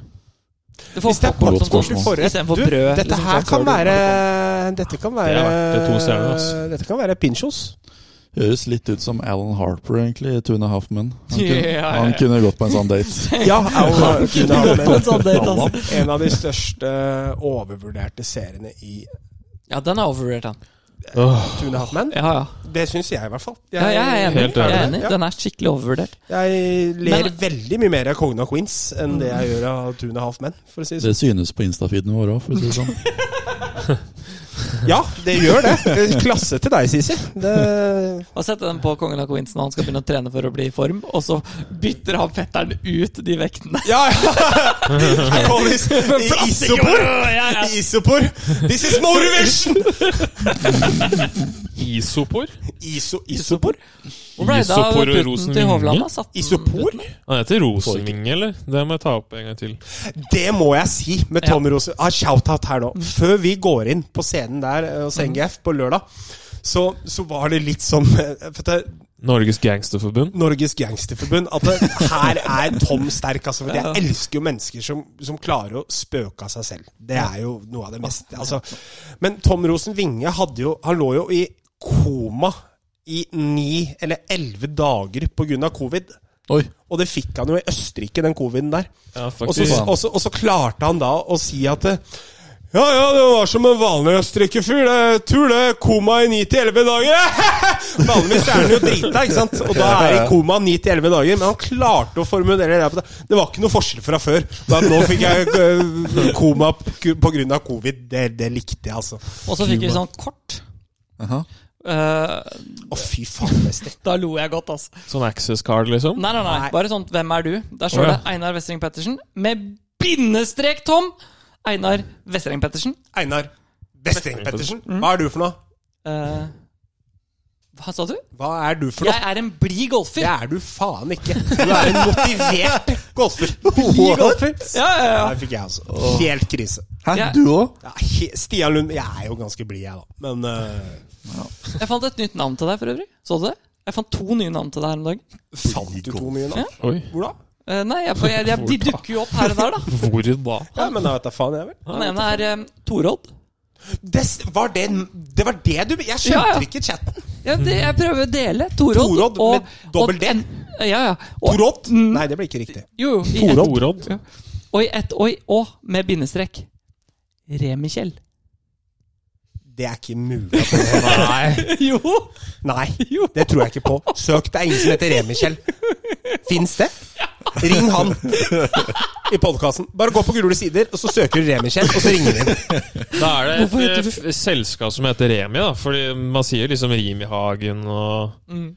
[SPEAKER 2] Du får
[SPEAKER 1] Hvis det er
[SPEAKER 2] popcorn
[SPEAKER 3] godt
[SPEAKER 2] som
[SPEAKER 3] spørsmål.
[SPEAKER 2] sånn istedenfor brød.
[SPEAKER 1] Dette
[SPEAKER 2] liksom,
[SPEAKER 1] her
[SPEAKER 2] sånn
[SPEAKER 1] kan
[SPEAKER 2] før du-
[SPEAKER 1] være Dette kan være
[SPEAKER 4] Det er verdt det to stjerner, ass.
[SPEAKER 1] Dette kan være pinchos.
[SPEAKER 3] Høres litt ut som Alan Harper, egentlig, i Two and a Half Men. Han kunne,
[SPEAKER 2] *laughs* Ja, ja, ja.
[SPEAKER 3] han kunne gått på en sånn date.
[SPEAKER 1] Ja, Al
[SPEAKER 2] *laughs* En sånn
[SPEAKER 3] *laughs*
[SPEAKER 2] date,
[SPEAKER 1] Kunahan.
[SPEAKER 2] altså.
[SPEAKER 1] En av de største overvurderte seriene i
[SPEAKER 2] Ja, den er overrated, den.
[SPEAKER 1] Tune Hatman.
[SPEAKER 2] Ja, ja.
[SPEAKER 1] Det syns jeg, i hvert fall.
[SPEAKER 2] ja, jeg er enig.
[SPEAKER 4] Helt
[SPEAKER 2] Jeg er
[SPEAKER 4] ærlig.
[SPEAKER 2] enig.
[SPEAKER 1] Ja.
[SPEAKER 2] Den er skikkelig overvurdert.
[SPEAKER 1] Jeg ler
[SPEAKER 2] Men-
[SPEAKER 1] veldig mye mer av Kongen av Queens enn det jeg gjør av Two and a Half Men. For å si det.
[SPEAKER 3] Det synes på Insta-feeden vår òg, for å si det
[SPEAKER 2] *laughs*
[SPEAKER 3] sånn.
[SPEAKER 1] sånn. Ja, det gjør det. Klasse til deg, Sisi. Det...
[SPEAKER 2] Og sette den på Kongen av Queensen, og han skal begynne å trene for å bli i form, og så bytter han fetteren ut de *laughs* vektene.
[SPEAKER 1] Ja, ja. I isopor.
[SPEAKER 4] *laughs*
[SPEAKER 1] I isopor. This is motivation!
[SPEAKER 4] Isopor?
[SPEAKER 1] Iso, isopor?
[SPEAKER 2] Hvor ble det av
[SPEAKER 4] Isopor og
[SPEAKER 2] putten til
[SPEAKER 4] Rosenvinge?
[SPEAKER 2] Hovland? da? Satt den
[SPEAKER 1] Isopor?
[SPEAKER 2] ut?
[SPEAKER 4] Han heter Rosenvinge, eller? Det må jeg ta opp en gang til.
[SPEAKER 1] Det må jeg si med Tom Rose. Ah, Shout-out her nå. Før vi går inn på scenen der eh, hos NGF på lørdag, så, så var det litt som eh, vet du,
[SPEAKER 4] Norges Gangsterforbund.
[SPEAKER 1] Norges Gangsterforbund. At det, her er Tom sterk. Altså, for jeg elsker jo mennesker som, som klarer å spøke av seg selv. Det er jo noe av det meste. Altså. Men Tom Rosen Winge hadde jo Han lå jo i koma i ni eller elleve dager pga. covid.
[SPEAKER 3] Oi.
[SPEAKER 1] Og det fikk han jo i Østerrike, den coviden der.
[SPEAKER 4] Ja,
[SPEAKER 1] Og så,
[SPEAKER 4] faktisk.
[SPEAKER 1] og, så, og så klarte han da å si at eh, ja, ja, det var som en vanlig østerrikerfyr. det- Tur det. Koma i 9-11 dager. *laughs* Vanligvis er han jo drita, ikke sant? Og da er han i koma 9-11 dager. Men han klarte å formulere det. på det. Det var ikke noe forskjell fra før. Da, nå fikk jeg eh, koma pga. covid. Det, det likte jeg, altså.
[SPEAKER 2] Og så fikk vi sånn kort.
[SPEAKER 3] Aha.
[SPEAKER 2] Eh,
[SPEAKER 1] Å, fy faen, beste.
[SPEAKER 2] da lo jeg godt, altså.
[SPEAKER 4] Sånn access card, liksom?
[SPEAKER 2] Nei, nei, nei,
[SPEAKER 1] Nei.
[SPEAKER 2] Bare sånn 'Hvem er du?' Der står
[SPEAKER 4] Å, ja.
[SPEAKER 2] det Einar Westring Pettersen med bindestrek, Tom! Einar Westring Pettersen.
[SPEAKER 1] Einar Westeng Pettersen, hva er du for noe?
[SPEAKER 2] Eh, hva sa du?
[SPEAKER 1] Hva er du for noe?
[SPEAKER 2] Jeg er en blid golfer.
[SPEAKER 1] Det er du faen ikke. Du er en motivert golfer. Blid golfer.
[SPEAKER 2] Ja, ja, ja.
[SPEAKER 1] Der fikk jeg altså helt krise.
[SPEAKER 3] Hæ,
[SPEAKER 2] Ja.
[SPEAKER 3] du òg?
[SPEAKER 1] Ja, he Stian Lund Jeg er jo ganske blid, jeg, da. Men eh,
[SPEAKER 2] Jeg fant et nytt navn til deg for øvrig. Så du det? Jeg fant to nye navn til deg her om dagen.
[SPEAKER 1] fant du to nye nå?
[SPEAKER 4] Oi.
[SPEAKER 1] Hvor da?
[SPEAKER 2] Eh, nei, jeg, jeg, jeg, de dukker jo opp her og der, da.
[SPEAKER 4] Hvor da?
[SPEAKER 1] Ja, men da vet jeg faen, jeg, vel.
[SPEAKER 2] Den ene er eh, Torodd.
[SPEAKER 1] Des, var det, det var det du Jeg skjønte
[SPEAKER 2] Ja, ja.
[SPEAKER 1] ikke chatten.
[SPEAKER 2] Ja, det, jeg prøver å dele. Torodd.
[SPEAKER 1] Torodd
[SPEAKER 2] og-
[SPEAKER 1] med dobbel
[SPEAKER 2] og-
[SPEAKER 1] D.
[SPEAKER 2] Ja, ja. Og,
[SPEAKER 1] Torott?
[SPEAKER 2] Mm.
[SPEAKER 1] Nei, det ble ikke riktig.
[SPEAKER 2] Jo, jo. i ett-
[SPEAKER 4] Torodd?
[SPEAKER 2] Og i ett oi og med bindestrek. Remikjell.
[SPEAKER 1] Det er ikke mulig. at det- *laughs*
[SPEAKER 4] Nei.
[SPEAKER 2] *laughs* jo!
[SPEAKER 1] Nei, det tror jeg ikke på. Søk, det er ingen som heter Remichel. Fins det? Ring han i podkasten. Bare gå på gule sider, og så søker du Remichel, og så ringer du inn.
[SPEAKER 4] Da er
[SPEAKER 2] Hvorfor
[SPEAKER 4] det
[SPEAKER 2] heter
[SPEAKER 4] et eh, f- selskap som heter Remi, da. Fordi man sier liksom Rimihagen og
[SPEAKER 2] Mm.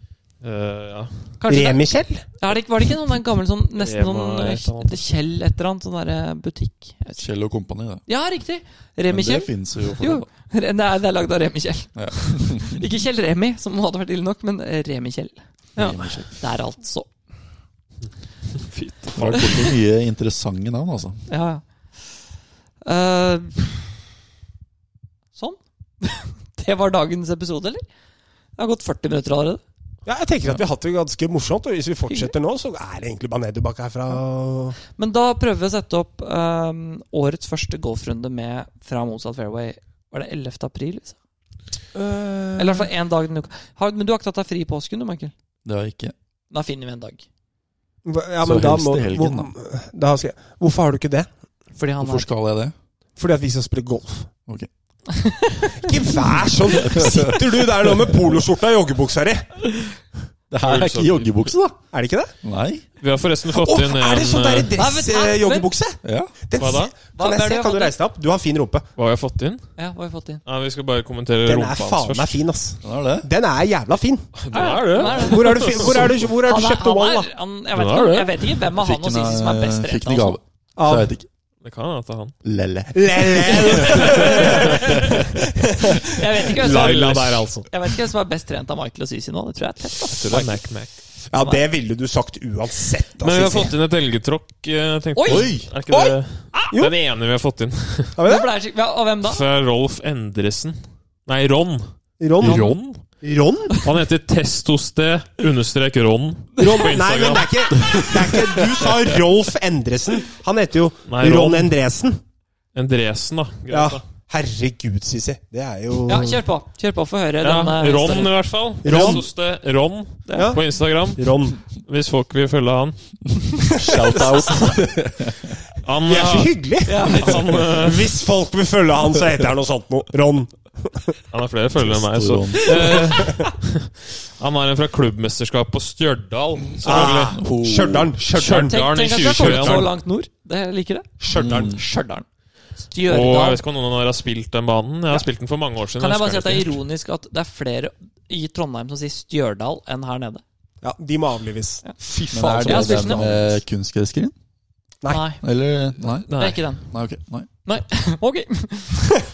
[SPEAKER 4] eh, ja.
[SPEAKER 2] Kanskje det,
[SPEAKER 1] Remichel?
[SPEAKER 2] er det, ikke- Var det ikke noen den gammel sånn nesten
[SPEAKER 4] Rema
[SPEAKER 2] sånn
[SPEAKER 4] et eller annet.
[SPEAKER 2] eh, Kjell et eller annet? Sånn derre butikk Jeg vet ikke.
[SPEAKER 3] Kjell og Kompani, det.
[SPEAKER 2] Ja, riktig!
[SPEAKER 3] Men det
[SPEAKER 2] Remikjell.
[SPEAKER 3] finnes jo. For
[SPEAKER 2] Jo, *laughs* det er, det er lagd av Remikjell.
[SPEAKER 3] Ja.
[SPEAKER 2] *laughs* ikke Kjell Remi, som hadde vært ille nok, men Remikjell. Ja. Der, altså.
[SPEAKER 3] Det har kommet mye interessante navn, altså.
[SPEAKER 2] Ja, ja. Eh, sånn. *laughs* det var dagens episode, eller? Det har gått 40 minutter allerede.
[SPEAKER 1] Ja, jeg tenker at vi har hatt det ganske morsomt, og hvis vi fortsetter nå, så er det egentlig bare nedoverbakke herfra.
[SPEAKER 2] Men da prøver vi å sette opp ehm, årets første golfrunde med fra motsatt fairway. Var det 11. april? Liksom?
[SPEAKER 1] Eh,
[SPEAKER 2] Eller i hvert fall én dag denne uka. Har, men du har ikke tatt deg fri i påsken, du, Michael?
[SPEAKER 3] Det har jeg ikke.
[SPEAKER 2] Da finner vi en dag.
[SPEAKER 1] ja, men
[SPEAKER 3] så
[SPEAKER 1] da
[SPEAKER 3] helst
[SPEAKER 1] må,
[SPEAKER 3] i helgen, da.
[SPEAKER 1] hvor, da skal jeg, Hvorfor har du ikke det?
[SPEAKER 2] Fordi han
[SPEAKER 3] Hvorfor
[SPEAKER 2] har
[SPEAKER 3] skal jeg det?
[SPEAKER 1] Fordi at vi skal spille golf.
[SPEAKER 3] Ok.
[SPEAKER 1] Ikke vær sånn! Sitter du der nå med poloskjorta og joggebuksa di?
[SPEAKER 3] Det her er ikke joggebukse, da.
[SPEAKER 1] Er det ikke det?
[SPEAKER 3] Nei.
[SPEAKER 4] Vi har forresten fått
[SPEAKER 1] Å,
[SPEAKER 4] inn en
[SPEAKER 1] er det sånn derre
[SPEAKER 4] eh,
[SPEAKER 2] Nei, vent,
[SPEAKER 1] dress-joggebukse?
[SPEAKER 3] Ja.
[SPEAKER 1] Den,
[SPEAKER 4] Hva da?
[SPEAKER 2] Hva-
[SPEAKER 1] Kan
[SPEAKER 2] hva er
[SPEAKER 1] jeg se?
[SPEAKER 2] det
[SPEAKER 1] Kan du
[SPEAKER 2] jeg
[SPEAKER 1] reise deg opp? Du har fin rumpe.
[SPEAKER 4] Hva har jeg fått inn?
[SPEAKER 2] Ja, hva har vi fått inn?
[SPEAKER 4] Nei, vi skal bare kommentere
[SPEAKER 1] Den
[SPEAKER 4] rumpa
[SPEAKER 1] er
[SPEAKER 4] hans
[SPEAKER 1] faen meg
[SPEAKER 4] først.
[SPEAKER 1] fin, ass.
[SPEAKER 3] Den er det.
[SPEAKER 1] Den er jævla fin.
[SPEAKER 4] Den er det.
[SPEAKER 2] Nei,
[SPEAKER 1] Hvor er du, fin- hvor er du, hvor er
[SPEAKER 2] Han
[SPEAKER 1] du
[SPEAKER 2] er,
[SPEAKER 1] kjøpt den
[SPEAKER 2] han
[SPEAKER 1] ballen,
[SPEAKER 2] er,
[SPEAKER 1] da?
[SPEAKER 2] han, jeg, vet
[SPEAKER 4] Den
[SPEAKER 2] ikke,
[SPEAKER 4] er
[SPEAKER 2] om-
[SPEAKER 4] det.
[SPEAKER 2] jeg vet ikke hvem av han og
[SPEAKER 3] den,
[SPEAKER 2] Sisi som er
[SPEAKER 3] eh,
[SPEAKER 2] best
[SPEAKER 3] fikk
[SPEAKER 2] rett.
[SPEAKER 3] den i
[SPEAKER 2] Altså.
[SPEAKER 3] gave. Så jeg
[SPEAKER 1] Av
[SPEAKER 3] vet ikke.
[SPEAKER 4] Det kan hende at det er han.
[SPEAKER 3] Lelle.
[SPEAKER 1] Lele.
[SPEAKER 2] Jeg vet ikke hvem som
[SPEAKER 4] Laila
[SPEAKER 2] er-
[SPEAKER 4] der, altså.
[SPEAKER 2] jeg vet ikke hvem som er best trent av Michael og Sisi nå. Det tror jeg er tett. ass.
[SPEAKER 4] Mac, Mac.
[SPEAKER 1] Ja, det ville du sagt uansett. da,
[SPEAKER 4] Men vi har
[SPEAKER 1] Sissy.
[SPEAKER 4] fått inn et elgetråkk. eh, tenkte
[SPEAKER 2] Oi!
[SPEAKER 4] jeg. Er ikke det
[SPEAKER 1] Ah! Jo.
[SPEAKER 4] den ene vi har fått inn?
[SPEAKER 1] Har vi
[SPEAKER 2] Det
[SPEAKER 1] det?
[SPEAKER 2] ble jeg skik- Hva- Og hvem da?
[SPEAKER 4] Fra Rolf Endresen. Nei, Ron.
[SPEAKER 1] Ron?
[SPEAKER 4] Ron?
[SPEAKER 1] Ron?
[SPEAKER 4] Han heter Testoste understrek Ron.
[SPEAKER 1] Ron?
[SPEAKER 4] På
[SPEAKER 1] Nei, men
[SPEAKER 4] Instagram.
[SPEAKER 1] det er, ikke, det er ikke Du sa Rolf Endresen. Han heter jo
[SPEAKER 4] Nei,
[SPEAKER 1] Ron
[SPEAKER 4] Ron.
[SPEAKER 1] Endresen.
[SPEAKER 4] Endresen, da. Greit,
[SPEAKER 1] Ja.
[SPEAKER 4] da.
[SPEAKER 1] Herregud, Sissy. Det er jo
[SPEAKER 2] Ja, kjør på. Kjør på, få høre
[SPEAKER 4] Ja,
[SPEAKER 2] den eh,
[SPEAKER 4] Ron
[SPEAKER 2] storyen.
[SPEAKER 4] i hvert fall.
[SPEAKER 1] Ron.
[SPEAKER 4] Testoste Ron
[SPEAKER 1] Ja.
[SPEAKER 4] på Instagram.
[SPEAKER 1] Ron.
[SPEAKER 4] Hvis folk vil følge han.
[SPEAKER 3] Shout-out.
[SPEAKER 4] Han, eh,
[SPEAKER 1] Vi er så hyggelige.
[SPEAKER 2] Ja, litt sånn.
[SPEAKER 4] han, eh,
[SPEAKER 1] Hvis folk vil følge han, så heter han noe sånt noe. Ron.
[SPEAKER 4] han har flere følgere enn meg, så
[SPEAKER 3] Ron.
[SPEAKER 4] Eh, *laughs* Han har en fra klubbmesterskapet på Stjørdal.
[SPEAKER 1] Ah.
[SPEAKER 4] Selvfølgelig.
[SPEAKER 3] Oh.
[SPEAKER 1] Stjørdal. Stjørdal.
[SPEAKER 2] Tenk,
[SPEAKER 4] Stjørdal i
[SPEAKER 2] tenk at vi har kommet så
[SPEAKER 4] 2021.
[SPEAKER 2] langt nord. Det jeg liker det. Mm.
[SPEAKER 1] Stjørdal.
[SPEAKER 2] Stjørdal.
[SPEAKER 4] Og jeg vet
[SPEAKER 2] Stjørdal.
[SPEAKER 4] ikke om noen av dere har spilt den banen. Jeg har spilt den for mange år siden.
[SPEAKER 2] Kan jeg
[SPEAKER 4] husker
[SPEAKER 2] bare si at det
[SPEAKER 4] den
[SPEAKER 2] er
[SPEAKER 4] ikke.
[SPEAKER 2] ironisk at det er flere i Trondheim som sier Stjørdal enn her nede?
[SPEAKER 1] Ja, de må avlives. Fy
[SPEAKER 3] Men
[SPEAKER 1] faen.
[SPEAKER 3] er
[SPEAKER 1] så
[SPEAKER 3] det
[SPEAKER 2] jeg spilte
[SPEAKER 3] den
[SPEAKER 2] den.
[SPEAKER 3] eh, kunstgresskreen?
[SPEAKER 1] Nei.
[SPEAKER 2] Nei.
[SPEAKER 3] Eller Nei.
[SPEAKER 2] Det
[SPEAKER 4] Nei.
[SPEAKER 2] er ikke den.
[SPEAKER 3] Nei, ok. Nei.
[SPEAKER 2] Nei. *laughs*
[SPEAKER 4] *laughs*
[SPEAKER 2] Ok.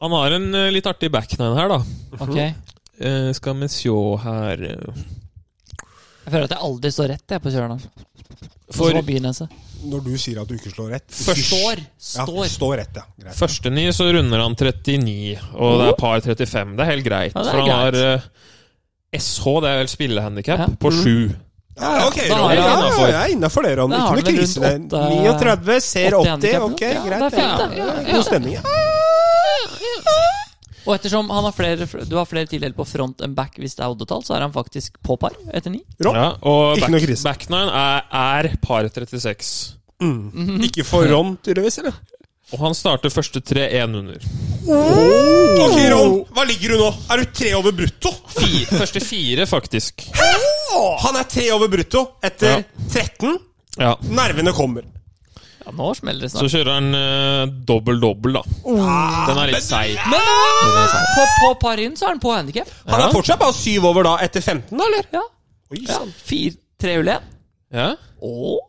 [SPEAKER 4] Han har en eh, litt artig backnine her, da.
[SPEAKER 2] Ok. Jeg
[SPEAKER 4] Eh, skal vi se her
[SPEAKER 2] Altså, føler at jeg aldri står rett jeg på Stjørdal.
[SPEAKER 4] For-
[SPEAKER 2] For byneset.
[SPEAKER 1] Når du sier at du ikke slår rett
[SPEAKER 2] altså. Står.
[SPEAKER 1] Ja,
[SPEAKER 2] Står.
[SPEAKER 1] står rett, ja. Greit.
[SPEAKER 4] Første ni så runder han 39, og det er par 35. Det er helt greit.
[SPEAKER 2] Oh. Ja, det er
[SPEAKER 4] for han
[SPEAKER 2] greit.
[SPEAKER 4] har eh, SH, det er vel spillehandikap,
[SPEAKER 2] Ja.
[SPEAKER 4] på sju.
[SPEAKER 1] Ja, ok,
[SPEAKER 2] Da
[SPEAKER 1] Ron.
[SPEAKER 2] er det
[SPEAKER 1] Ja,
[SPEAKER 4] innenfor.
[SPEAKER 1] ja, jeg er innafor det, Ron.
[SPEAKER 2] Da
[SPEAKER 1] Ikke
[SPEAKER 2] har
[SPEAKER 1] noe
[SPEAKER 2] du vel
[SPEAKER 1] krise.
[SPEAKER 2] rundt åtte-
[SPEAKER 1] 39, ser
[SPEAKER 2] 80
[SPEAKER 1] 80. Ok,
[SPEAKER 2] handicap, da.
[SPEAKER 1] greit.
[SPEAKER 2] Ja, det er fint,
[SPEAKER 1] ja,
[SPEAKER 2] det.
[SPEAKER 1] ja, God stemning. ja.
[SPEAKER 2] Og ettersom han har flere, du har flere tildeler på front enn back hvis det er oddetall, så er han faktisk på par etter ni.
[SPEAKER 1] Rått.
[SPEAKER 4] Ja, og
[SPEAKER 1] Ikke
[SPEAKER 4] back,
[SPEAKER 1] noe krise.
[SPEAKER 4] back nine er, er par 36.
[SPEAKER 1] Mm. Ikke for Rom, *laughs* tydeligvis, eller?
[SPEAKER 4] Og han starter første tre 1 under.
[SPEAKER 1] Ok, Rom, hva ligger du nå? Er du tre over brutto?
[SPEAKER 4] Fi- første fire, faktisk.
[SPEAKER 1] Han er tre over brutto etter
[SPEAKER 4] Ja.
[SPEAKER 1] 13.
[SPEAKER 4] Ja.
[SPEAKER 1] Nervene kommer.
[SPEAKER 2] Ja, nå smeller det
[SPEAKER 4] Så
[SPEAKER 2] snart.
[SPEAKER 4] kjører han dobbel-dobbel,
[SPEAKER 1] Oh.
[SPEAKER 4] da. Den er litt seig.
[SPEAKER 2] Men eh, på, på par inn så er han på handikap.
[SPEAKER 1] Han er fortsatt bare syv over da etter 15, da, eller?
[SPEAKER 2] Ja.
[SPEAKER 1] Oi,
[SPEAKER 2] ja.
[SPEAKER 1] sann.
[SPEAKER 2] Fire, tre hull igjen.
[SPEAKER 4] Ja.
[SPEAKER 2] Og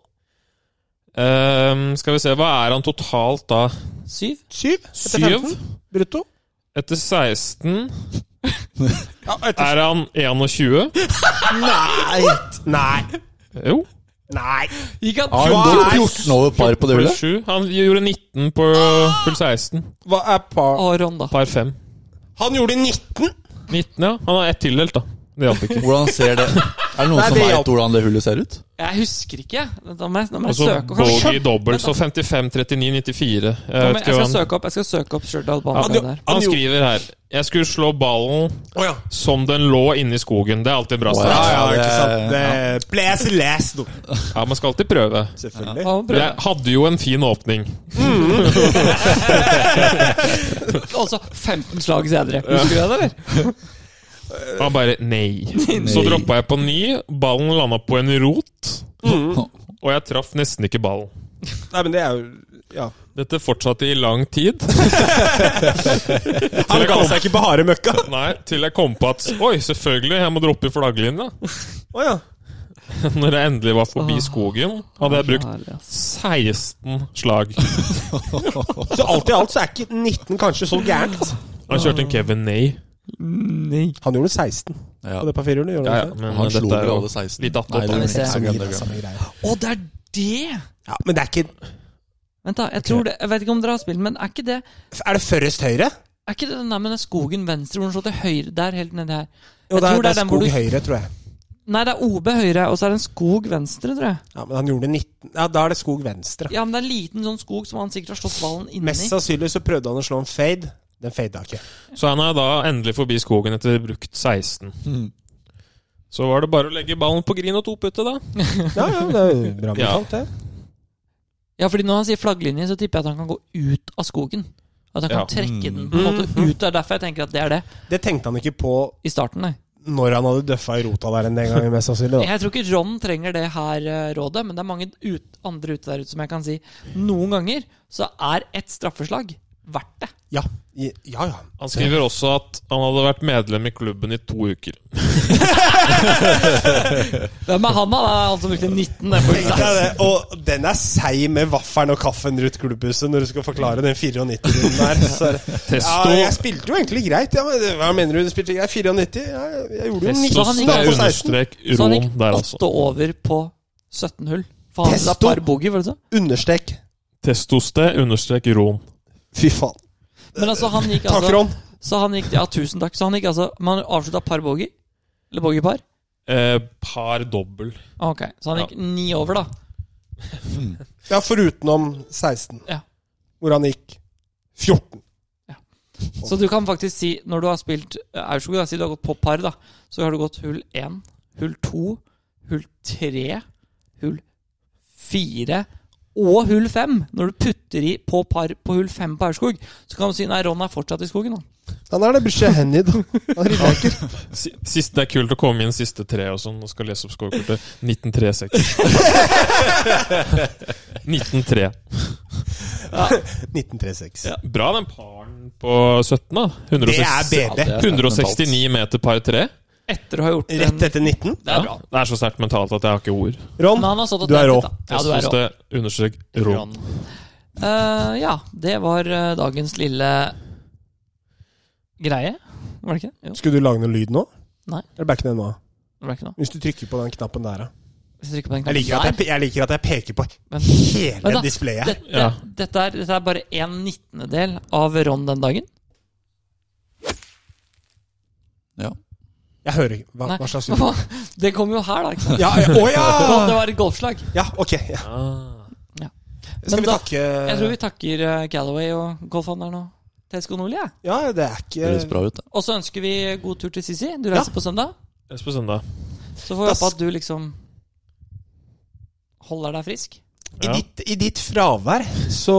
[SPEAKER 4] Ehm, skal vi se, hva er han totalt da?
[SPEAKER 2] syv.
[SPEAKER 1] Syv etter
[SPEAKER 4] Syv?
[SPEAKER 1] 15 brutto.
[SPEAKER 4] Etter 16
[SPEAKER 1] Ja, etter...
[SPEAKER 4] er han 21.
[SPEAKER 1] Nei! Nei!
[SPEAKER 4] Jo.
[SPEAKER 1] Nei!
[SPEAKER 2] Gikk han
[SPEAKER 3] Har
[SPEAKER 1] Hva
[SPEAKER 3] hun gått
[SPEAKER 1] er-
[SPEAKER 3] 14 over par på det
[SPEAKER 4] Pluss
[SPEAKER 3] hullet?
[SPEAKER 4] 7. Han gjorde 19 på hull 16.
[SPEAKER 1] Hva er par
[SPEAKER 2] Aron, da.
[SPEAKER 4] Par 5.
[SPEAKER 1] Han gjorde 19.
[SPEAKER 4] 19, ja. Han har ett tildelt, da. Det hjalp ikke.
[SPEAKER 3] Hvordan ser det Er det noen
[SPEAKER 1] Nei,
[SPEAKER 3] som
[SPEAKER 1] det hjalp.
[SPEAKER 3] veit hvordan det hullet ser ut?
[SPEAKER 2] Jeg husker ikke. Da må jeg, da må jeg
[SPEAKER 4] Og så
[SPEAKER 2] søke opp. Kanskje-
[SPEAKER 4] bogey dobbel, så 55, 39, 94.
[SPEAKER 2] Da må
[SPEAKER 4] Jeg vet
[SPEAKER 2] jeg,
[SPEAKER 4] ikke
[SPEAKER 2] jeg
[SPEAKER 4] hva
[SPEAKER 2] skal
[SPEAKER 4] han
[SPEAKER 2] søke opp, jeg skal søke opp Stjørdal på
[SPEAKER 1] Ja,
[SPEAKER 2] andre
[SPEAKER 1] du-
[SPEAKER 2] der.
[SPEAKER 4] Han
[SPEAKER 1] jo-
[SPEAKER 4] skriver her Jeg skulle slå ballen
[SPEAKER 1] Å ja.
[SPEAKER 4] som den lå inne i skogen. Det er alltid en bra
[SPEAKER 1] Ja,
[SPEAKER 4] start.
[SPEAKER 1] ja,
[SPEAKER 3] Ja,
[SPEAKER 1] ikke sant.
[SPEAKER 3] det-
[SPEAKER 1] Det ble jeg lest nå.
[SPEAKER 4] Ja, Man skal alltid prøve.
[SPEAKER 1] Selvfølgelig.
[SPEAKER 2] Ja, prøv.
[SPEAKER 4] Jeg hadde jo en fin åpning.
[SPEAKER 2] Og så 15 Altså, slag senere. Husker du det, eller?
[SPEAKER 4] Han bare nei. Så droppa jeg på ny. Ballen landa på en rot,
[SPEAKER 1] Mm.
[SPEAKER 4] og jeg traff nesten ikke ballen.
[SPEAKER 1] Nei, men det er jo Ja.
[SPEAKER 4] Dette fortsatte i lang
[SPEAKER 1] *laughs*
[SPEAKER 4] tid.
[SPEAKER 1] Han ga seg ikke på harde møkka.
[SPEAKER 4] Nei, Til jeg kom på at oi, selvfølgelig, jeg må droppe i flagglinja.
[SPEAKER 1] Å ja.
[SPEAKER 4] Når jeg endelig var forbi skogen, hadde jeg brukt
[SPEAKER 2] Herlig, ass.
[SPEAKER 4] 16 slag.
[SPEAKER 1] Så alt i alt så er ikke 19 kanskje så gærent. Altså.
[SPEAKER 4] Han kjørte en Kevin Nay.
[SPEAKER 2] Nei.
[SPEAKER 1] Han gjorde 16
[SPEAKER 3] Ja.
[SPEAKER 1] på det par firehjulet, gjorde han
[SPEAKER 4] Ja, ja,
[SPEAKER 1] ikke?
[SPEAKER 4] men
[SPEAKER 3] Han
[SPEAKER 4] dette
[SPEAKER 3] slo
[SPEAKER 4] er
[SPEAKER 3] vel
[SPEAKER 4] jo
[SPEAKER 3] alle 16?
[SPEAKER 4] Litt
[SPEAKER 3] Nei, det
[SPEAKER 2] Skal vi
[SPEAKER 3] gjorde
[SPEAKER 2] se.
[SPEAKER 3] han
[SPEAKER 1] Samme
[SPEAKER 3] ikke.
[SPEAKER 1] greie, samme greie.
[SPEAKER 2] Å, det er det!
[SPEAKER 1] Ja, men det er ikke
[SPEAKER 2] Vent, da. Jeg tror det, jeg vet ikke om dere har spilt, men er ikke det
[SPEAKER 1] Er det førrest høyre?
[SPEAKER 2] Er ikke det den der med den skogen venstre hvor den slår til høyre der, helt nedi her?
[SPEAKER 1] Jo,
[SPEAKER 2] Jeg
[SPEAKER 1] det er,
[SPEAKER 2] tror
[SPEAKER 1] det er
[SPEAKER 2] den hvor
[SPEAKER 1] skog
[SPEAKER 2] du-
[SPEAKER 1] høyre, tror jeg.
[SPEAKER 2] Nei, det er OB høyre, og så er det en skog venstre, tror jeg.
[SPEAKER 1] Ja, Men han gjorde 19 Ja, da er det skog venstre.
[SPEAKER 2] Ja, men det er en liten sånn skog som han sikkert har slått ballen inni.
[SPEAKER 1] Mest sannsynlig så prøvde han å slå en fade. Den fada ikke.
[SPEAKER 4] Så han er da endelig forbi skogen etter brukt 16.
[SPEAKER 3] Hmm.
[SPEAKER 4] Så var det bare å legge ballen på green og to putte, da.
[SPEAKER 1] Ja, ja, det er jo bra betalt, det.
[SPEAKER 2] Ja, fordi når han sier flagglinje, så tipper jeg at han kan gå ut av skogen. At han kan
[SPEAKER 4] Ja.
[SPEAKER 2] trekke den på en måte ut. Det er derfor jeg tenker at det er det.
[SPEAKER 1] Det tenkte han ikke på
[SPEAKER 2] I starten, nei.
[SPEAKER 1] når han hadde døffa i rota der en gang, mest sannsynlig. da.
[SPEAKER 2] Jeg tror ikke Ron trenger det her eh, rådet, men det er mange ut, andre ute der ute som jeg kan si. Noen ganger så er ett straffeslag verdt det.
[SPEAKER 1] Ja, i- ja. ja.
[SPEAKER 4] Han skriver også at han hadde vært medlem i klubben i to uker.
[SPEAKER 2] Hvem er han, da? altså Det er han som brukte 19. Det får vi
[SPEAKER 1] Tenk
[SPEAKER 2] si.
[SPEAKER 1] deg det. Og den er seig med vaffelen og kaffen rundt klubbhuset når du skal forklare den 94-runden der.
[SPEAKER 2] *laughs*
[SPEAKER 1] Så er det-
[SPEAKER 4] Testo.
[SPEAKER 1] Ja, jeg spilte jo egentlig greit. Ja, men, hva mener du? du spilte greit? 94? Ja, jeg
[SPEAKER 2] Mm,
[SPEAKER 1] gjorde jo 19
[SPEAKER 4] Testo,
[SPEAKER 2] gikk-
[SPEAKER 4] det
[SPEAKER 1] da,
[SPEAKER 4] er
[SPEAKER 1] på 16.
[SPEAKER 4] understrek
[SPEAKER 2] Så han
[SPEAKER 4] rom
[SPEAKER 2] gikk
[SPEAKER 4] der, altså.
[SPEAKER 2] åtte over på 17 hull. For han hadde
[SPEAKER 1] Testo.
[SPEAKER 2] par boogie, var det så?
[SPEAKER 1] Understrek.
[SPEAKER 4] Testoste understrek rom.
[SPEAKER 1] Fy faen.
[SPEAKER 2] Men altså, han gikk
[SPEAKER 1] Takk,
[SPEAKER 2] altså
[SPEAKER 1] Ron.
[SPEAKER 2] Så han gikk, ja, tusen takk. Så han gikk altså Man avslutta par boogie. Eller boogie-par.
[SPEAKER 4] Eh, par dobbel.
[SPEAKER 2] Ok, Så han
[SPEAKER 4] Ja.
[SPEAKER 2] gikk ni over, da.
[SPEAKER 1] Ja, forutenom 16,
[SPEAKER 2] Ja.
[SPEAKER 1] hvor han gikk 14.
[SPEAKER 2] Så du kan faktisk si, når du har spilt eh, Aurskog, da, si du har gått på par, da, så har du gått hull 1, hull 2, hull 3, hull 4 og hull 5. Når du putter i på par på hull 5 på Aurskog, så kan du si nei, Ron er fortsatt i skogen. Da.
[SPEAKER 1] Han er det Bushy Henny, da. Han rydder ikke.
[SPEAKER 4] Si- Sist, det er kult å komme inn siste tre og sånn, og skal lese opp scorekortet. *laughs* 1936. 1903.
[SPEAKER 1] 1936.
[SPEAKER 4] Bra den paren på 17, da. 106,
[SPEAKER 1] Det er BB.
[SPEAKER 3] Ja, det er sterkt
[SPEAKER 4] 169 meter par tre.
[SPEAKER 2] Etter å ha gjort
[SPEAKER 1] Rett
[SPEAKER 2] en
[SPEAKER 1] etter 19.
[SPEAKER 2] Det er bra.
[SPEAKER 4] Det er så sterkt mentalt at jeg har ikke ord.
[SPEAKER 1] Ron,
[SPEAKER 2] Men han har satt opp
[SPEAKER 1] du er
[SPEAKER 2] nett
[SPEAKER 1] rå.
[SPEAKER 2] litt, da. Ja, du er rå.
[SPEAKER 4] Testoste understrek rom.
[SPEAKER 2] Eh, ja, det var eh, dagens lille greie. Var det ikke det? Jo,
[SPEAKER 1] Skulle du lage noe lyd nå?
[SPEAKER 2] Nei.
[SPEAKER 1] Eller back ned nå?
[SPEAKER 2] det var ikke noe.
[SPEAKER 1] Hvis du trykker på den knappen der, da.
[SPEAKER 2] Hvis jeg trykker på den
[SPEAKER 1] Jeg liker, at
[SPEAKER 2] knappen
[SPEAKER 1] jeg, pe- jeg liker at jeg peker på
[SPEAKER 2] Men-
[SPEAKER 1] hele
[SPEAKER 2] Men da-
[SPEAKER 1] displayet.
[SPEAKER 2] Dette,
[SPEAKER 4] Ja.
[SPEAKER 2] dette, er, dette er bare en nittendedel av Ron den dagen.
[SPEAKER 3] Ja.
[SPEAKER 1] Jeg hører ikke. Hva,
[SPEAKER 2] Nei.
[SPEAKER 1] hva slags lyd?
[SPEAKER 2] Hva- Det kom jo her,
[SPEAKER 1] *laughs*
[SPEAKER 2] da. ikke sant?
[SPEAKER 1] Ja, ja, å
[SPEAKER 2] *laughs* Å, Det
[SPEAKER 1] ja!
[SPEAKER 2] var et golfslag.
[SPEAKER 1] ja ok. Ja.
[SPEAKER 4] Ah.
[SPEAKER 1] Skal
[SPEAKER 2] Men
[SPEAKER 1] vi
[SPEAKER 2] da-
[SPEAKER 1] takke
[SPEAKER 2] Jeg tror vi takker eh, Galloway og golfhandleren og Tesco Nordli. jeg.
[SPEAKER 1] Ja, det er
[SPEAKER 3] Det høres
[SPEAKER 1] ikke
[SPEAKER 3] bra ut. det.
[SPEAKER 2] Og så ønsker vi god tur til Sissi. Du reiser på søndag.
[SPEAKER 4] Jeg spør søndag.
[SPEAKER 2] Så får vi
[SPEAKER 1] Das-
[SPEAKER 2] håpe at du liksom holder deg frisk.
[SPEAKER 1] I
[SPEAKER 4] Ja.
[SPEAKER 1] ditt, I ditt fravær så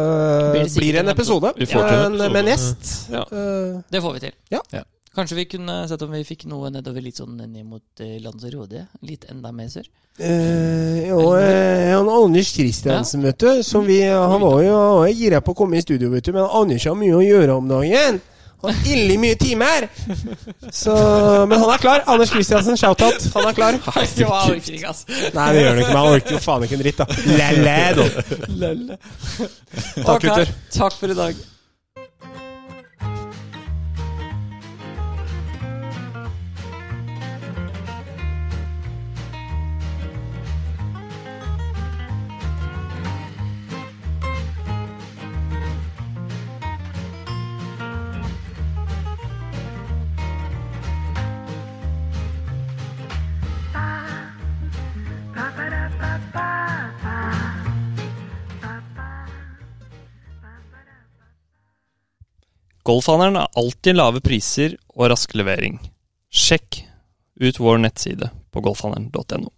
[SPEAKER 1] øh,
[SPEAKER 2] Blir det sikkert
[SPEAKER 1] blir det
[SPEAKER 2] en
[SPEAKER 1] en episode.
[SPEAKER 4] Vi får til
[SPEAKER 1] En-
[SPEAKER 4] en episode.
[SPEAKER 1] Med en gjest.
[SPEAKER 4] Ja.
[SPEAKER 1] Eh,
[SPEAKER 2] Det får vi til.
[SPEAKER 1] Ja.
[SPEAKER 3] Ja.
[SPEAKER 2] Kanskje vi kunne sett om vi fikk noe nedover litt sånn ned mot eh, Lands Råde. Litt enda mer sør.
[SPEAKER 1] Eh, og eh, han Anders Kristiansen, vet du. Som vi, han var jo han var jo gira på å komme i studio, vet du. Men Anders har mye å gjøre om dagen. Han har ille mye timer! Så, men han er klar. Anders Kristiansen, shout-out. Han er klar.
[SPEAKER 2] Jo, jeg orker ikke, ass.
[SPEAKER 1] Nei, det gjør han ikke. Men han orker jo faen ikke en dritt, da. Lele, da.
[SPEAKER 2] Ok,
[SPEAKER 1] gutter.
[SPEAKER 2] Takk for i dag.
[SPEAKER 5] Golfhandelen har alltid lave priser og rask levering. Sjekk ut vår nettside på golfhandelen.no.